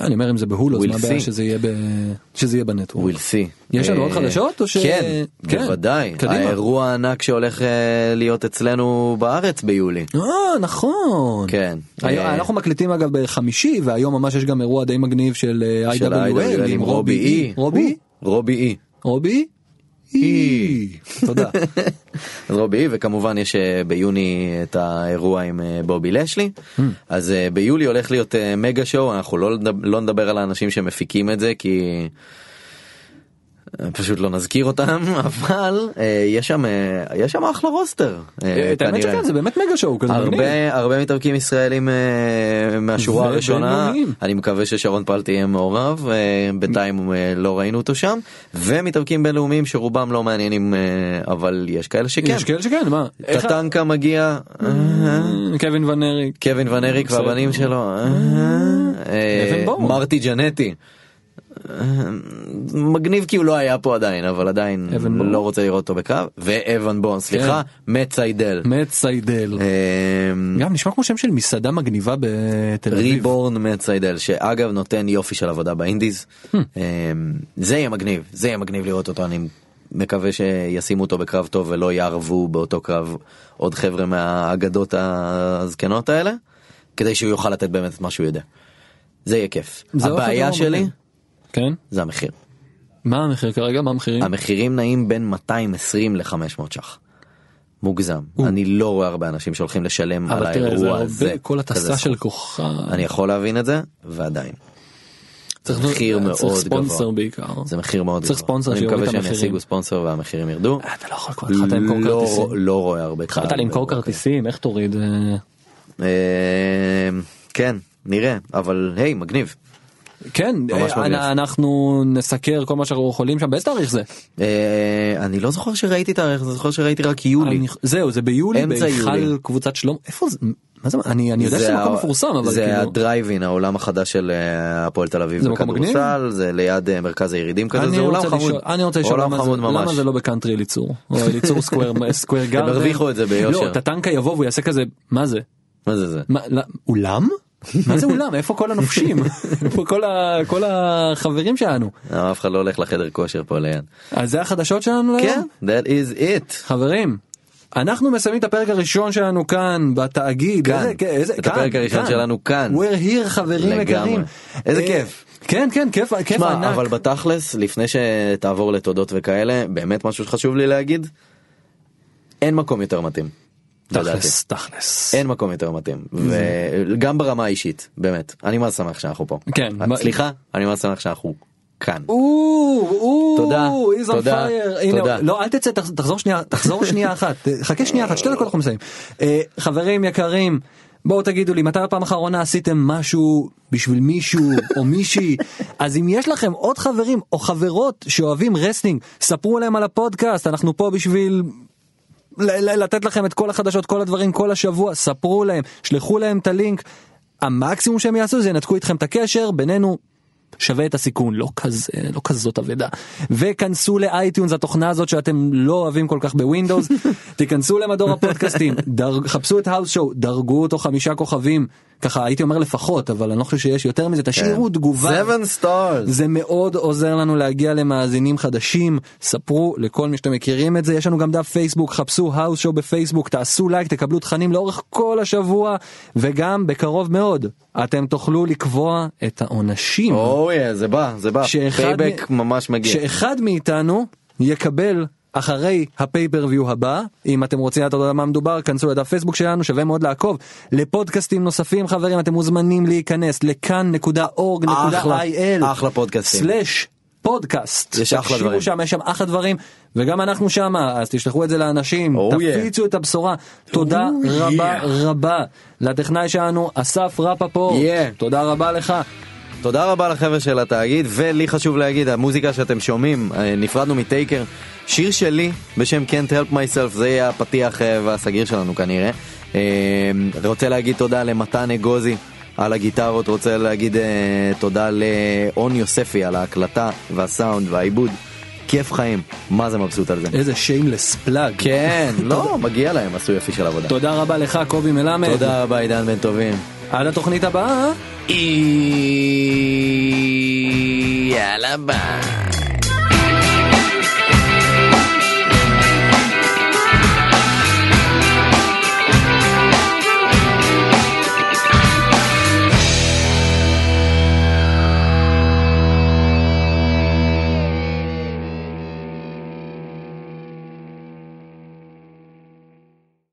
Speaker 3: לא, אני אומר אם זה בהולו, אז
Speaker 4: We'll
Speaker 3: מה הבעיה
Speaker 4: see.
Speaker 3: שזה יהיה ב- שזה יהיה בנטוורק?
Speaker 4: we'll see.
Speaker 3: יש לנו עוד
Speaker 4: אה,
Speaker 3: חדשות או ש-
Speaker 4: כן,
Speaker 3: כן.
Speaker 4: בוודאי.
Speaker 3: קדימה.
Speaker 4: האירוע הענק שהולך אה, להיות אצלנו בארץ ביולי.
Speaker 3: אה נכון.
Speaker 4: כן.
Speaker 3: היום-
Speaker 4: אה,
Speaker 3: אנחנו מקליטים אגב בחמישי והיום ממש יש גם אירוע די מגניב של אה,
Speaker 4: של ה-IWL
Speaker 3: IWL עם רובי אי. רובי?
Speaker 4: E.
Speaker 3: E?
Speaker 4: רובי E. אי.
Speaker 3: רובי? אי.
Speaker 4: E.
Speaker 3: תודה. אה,
Speaker 4: אז רובי אי וכמובן יש אה, ביוני את האירוע עם אה, בובי לשלי
Speaker 3: Hmm.
Speaker 4: אז אה, ביולי הולך להיות אה, מגה שואו אנחנו לא נדב- לא נדבר על האנשים שמפיקים את זה כי פשוט לא נזכיר אותם אבל אה, יש שם אה, יש שם אחלה רוסטר אה,
Speaker 3: את האמת
Speaker 4: כנראה.
Speaker 3: שכן זה באמת מגה שואו כזה מגניב.
Speaker 4: הרבה הרבה מתאבקים ישראלים אה, מהשורה הראשונה
Speaker 3: ובינוניים.
Speaker 4: אני מקווה ששרון פלטי יהיה מעורב אה, בינתיים אה, לא ראינו אותו שם ומתאבקים בינלאומיים שרובם לא מעניינים אה, אבל יש כאלה שכן.
Speaker 3: יש כאלה שכן מה איך ה-
Speaker 4: טטנקה מגיע אה, כן.
Speaker 3: קווין ונרי
Speaker 4: קווין ון אריק
Speaker 3: בסדר.
Speaker 4: והבנים שלו, אה, אה,
Speaker 3: אבן בואו.
Speaker 4: מרטי ג'נטי. אה, מגניב כי הוא לא היה פה עדיין אבל עדיין
Speaker 3: אבן כן. בואו.
Speaker 4: לא רוצה לראות אותו בקו ואבן בון סליחה מציידל
Speaker 3: מציידל
Speaker 4: אה.
Speaker 3: גם נשמע כמו שם של מסעדה מגניבה בתל אביב.
Speaker 4: ריבורן מציידל שאגב נותן יופי של עבודה באינדיז
Speaker 3: Hmm.
Speaker 4: אה, זה יהיה מגניב זה יהיה מגניב לראות אותו אני מקווה שישימו אותו בקרב טוב ולא יערבו באותו קרב עוד חבר'ה מהאגדות הזקנות האלה כדי שהוא יוכל לתת באמת את מה שהוא יודע. זה יהיה כיף.
Speaker 3: זה הולך
Speaker 4: הבעיה
Speaker 3: להיות
Speaker 4: שלי
Speaker 3: מגניב. כן?
Speaker 4: זה המחיר.
Speaker 3: מה המחיר כרגע? מה המחירים?
Speaker 4: המחירים נעים בין 220 ל-500 ש"ח. מוגזם. אני לא רואה הרבה אנשים שהולכים לשלם על
Speaker 3: אבל תראה זה
Speaker 4: האירוע הזה.
Speaker 3: הרבה כל
Speaker 4: כזה
Speaker 3: הטסה
Speaker 4: סכום.
Speaker 3: של כוחה.
Speaker 4: אני יכול להבין את זה ועדיין
Speaker 3: צריך
Speaker 4: מחיר
Speaker 3: צריך
Speaker 4: מאוד גבוה.
Speaker 3: ספונסר בעיקר.
Speaker 4: זה מחיר מאוד
Speaker 3: צריך
Speaker 4: גבוה.
Speaker 3: ספונסר
Speaker 4: אני
Speaker 3: שיוריד
Speaker 4: מקווה
Speaker 3: את
Speaker 4: שהם
Speaker 3: המחירים.
Speaker 4: ישיגו ספונסר והמחירים ירדו.
Speaker 3: אה, אתה לא יכול כבר התחלת למכור
Speaker 4: לא-
Speaker 3: כרטיסים.
Speaker 4: לא רואה הרבה.
Speaker 3: התחלת למכור כרטיסים איך תוריד? אה,
Speaker 4: אה, כן נראה אבל היי מגניב
Speaker 3: כן
Speaker 4: ממש
Speaker 3: אה,
Speaker 4: מגניב.
Speaker 3: אנ- אנחנו נסקר כל מה שאנחנו יכולים שם באיזה תאריך זה?
Speaker 4: אה, אני לא זוכר שראיתי תאריך אני זוכר שראיתי רק יולי.
Speaker 3: אני- זהו זה ביולי
Speaker 4: אמצע יולי.
Speaker 3: בהיכל קבוצת שלום איפה זה? מה זה? אני אני יודע שזה
Speaker 4: ה-
Speaker 3: מקום מפורסם אבל
Speaker 4: זה
Speaker 3: כאילו.
Speaker 4: הדרייבין העולם החדש של אה, הפועל תל אביב
Speaker 3: זה מקום מגניב?
Speaker 4: בכדורסל, זה ליד אה, מרכז הירידים כזה
Speaker 3: אני
Speaker 4: זה עולם
Speaker 3: רוצה
Speaker 4: חמוד
Speaker 3: לשאול- אני רוצה לשאול
Speaker 4: עולם
Speaker 3: למה זה-
Speaker 4: חמוד
Speaker 3: למה
Speaker 4: ממש
Speaker 3: זה לא בקאנטרי אליצור או אליצור סקוואר סקוואר גארדן.
Speaker 4: הרוויחו את זה ביושר.
Speaker 3: לא, טטנקה יבוא והוא יעשה כזה מה זה
Speaker 4: מה זה זה
Speaker 3: מה, לא- אולם? מה זה אולם איפה כל הנופשים איפה כל ה- כל החברים שלנו
Speaker 4: אה, אף אחד לא הולך לחדר כושר פה ליד
Speaker 3: אז זה החדשות שלנו
Speaker 4: כן
Speaker 3: להיום?
Speaker 4: that is it.
Speaker 3: חברים. אנחנו מסיימים את הפרק הראשון שלנו כאן בתאגיד.
Speaker 4: כאן.
Speaker 3: איזה- כן, איזה-
Speaker 4: את
Speaker 3: כאן,
Speaker 4: הפרק הראשון
Speaker 3: כאן.
Speaker 4: שלנו כאן.
Speaker 3: We're here חברים
Speaker 4: לגמרי.
Speaker 3: יקרים.
Speaker 4: איזה
Speaker 3: אה,
Speaker 4: כיף.
Speaker 3: כן כן כיף כיף
Speaker 4: תשמע,
Speaker 3: ענק.
Speaker 4: אבל בתכלס לפני שתעבור לתודות וכאלה באמת משהו שחשוב לי להגיד. אין מקום יותר מתאים. לדעתי.
Speaker 3: תכלס תכלס.
Speaker 4: אין מקום יותר מתאים וגם ברמה האישית באמת אני מאוד שמח שאנחנו פה אה,
Speaker 3: כן.
Speaker 4: סליחה אני מאוד שמח שאנחנו כאן תודה,
Speaker 3: תודה,
Speaker 4: תודה, תודה.
Speaker 3: לא אל תצא תח- תחזור שנייה תחזור שנייה אחת ת- חכה שנייה אחת שתי דקות אנחנו מסיימים. אה, חברים יקרים בואו תגידו לי מתי הפעם האחרונה עשיתם משהו בשביל מישהו או מישהי אז אם יש לכם עוד חברים או חברות שאוהבים רסלינג ספרו להם על הפודקאסט אנחנו פה בשביל ל- ל- לתת לכם את כל החדשות כל הדברים כל השבוע ספרו להם שלחו להם את הלינק המקסימום שהם יעשו זה ינתקו איתכם את הקשר בינינו. שווה את הסיכון לא כזה לא כזאת אבדה וכנסו לאייטיונס התוכנה הזאת שאתם לא אוהבים כל כך בווינדוס תיכנסו למדור הפודקאסטים דר... חפשו את האוס שואו דרגו אותו חמישה כוכבים ככה הייתי אומר לפחות אבל אני לא חושב שיש יותר מזה תשאירו
Speaker 4: כן.
Speaker 3: תגובה
Speaker 4: 7 stars.
Speaker 3: זה מאוד עוזר לנו להגיע למאזינים חדשים ספרו לכל מי שאתם מכירים את זה יש לנו גם דף פייסבוק חפשו האוס שואו בפייסבוק תעשו לייק תקבלו תכנים לאורך כל השבוע וגם בקרוב מאוד אתם תוכלו לקבוע את העונשים
Speaker 4: אוי Oh זה בא זה בא
Speaker 3: שאחד
Speaker 4: פייבק
Speaker 3: מ-
Speaker 4: ממש מגיע
Speaker 3: שאחד מאיתנו יקבל אחרי הפייפריוויו הבא אם אתם רוצים לדעת על מה מדובר כנסו לדף פייסבוק שלנו שווה מאוד לעקוב לפודקאסטים נוספים חברים אתם מוזמנים להיכנס
Speaker 4: אחלה,
Speaker 3: לכאן.org.il
Speaker 4: אחלה פודקאסטים.
Speaker 3: סלאש פודקאסט
Speaker 4: יש אחלה
Speaker 3: תקשיבו
Speaker 4: דברים.
Speaker 3: שם יש שם אחלה דברים וגם אנחנו שמה אז תשלחו את זה לאנשים
Speaker 4: Oh yeah.
Speaker 3: תפיצו את הבשורה תודה
Speaker 4: Oh yeah.
Speaker 3: רבה רבה לטכנאי שלנו אסף רפפורט
Speaker 4: Yeah.
Speaker 3: תודה רבה לך
Speaker 4: תודה רבה לחבר'ה של התאגיד ולי חשוב להגיד המוזיקה שאתם שומעים אה, נפרדנו מטייקר שיר שלי בשם can't help myself זה יהיה הפתיח אה, והסגיר שלנו כנראה. אה, רוצה להגיד תודה למתן אגוזי על הגיטרות רוצה להגיד אה, תודה לאון יוספי על ההקלטה והסאונד והעיבוד כיף חיים מה זה מבסוט על זה.
Speaker 3: איזה שיימלס פלאג
Speaker 4: כן לא מגיע להם עשו יופי של עבודה.
Speaker 3: תודה רבה לך קובי מלמד.
Speaker 4: תודה רבה עידן בן טובים.
Speaker 3: עד התוכנית הבאה.
Speaker 4: יאללה ביי.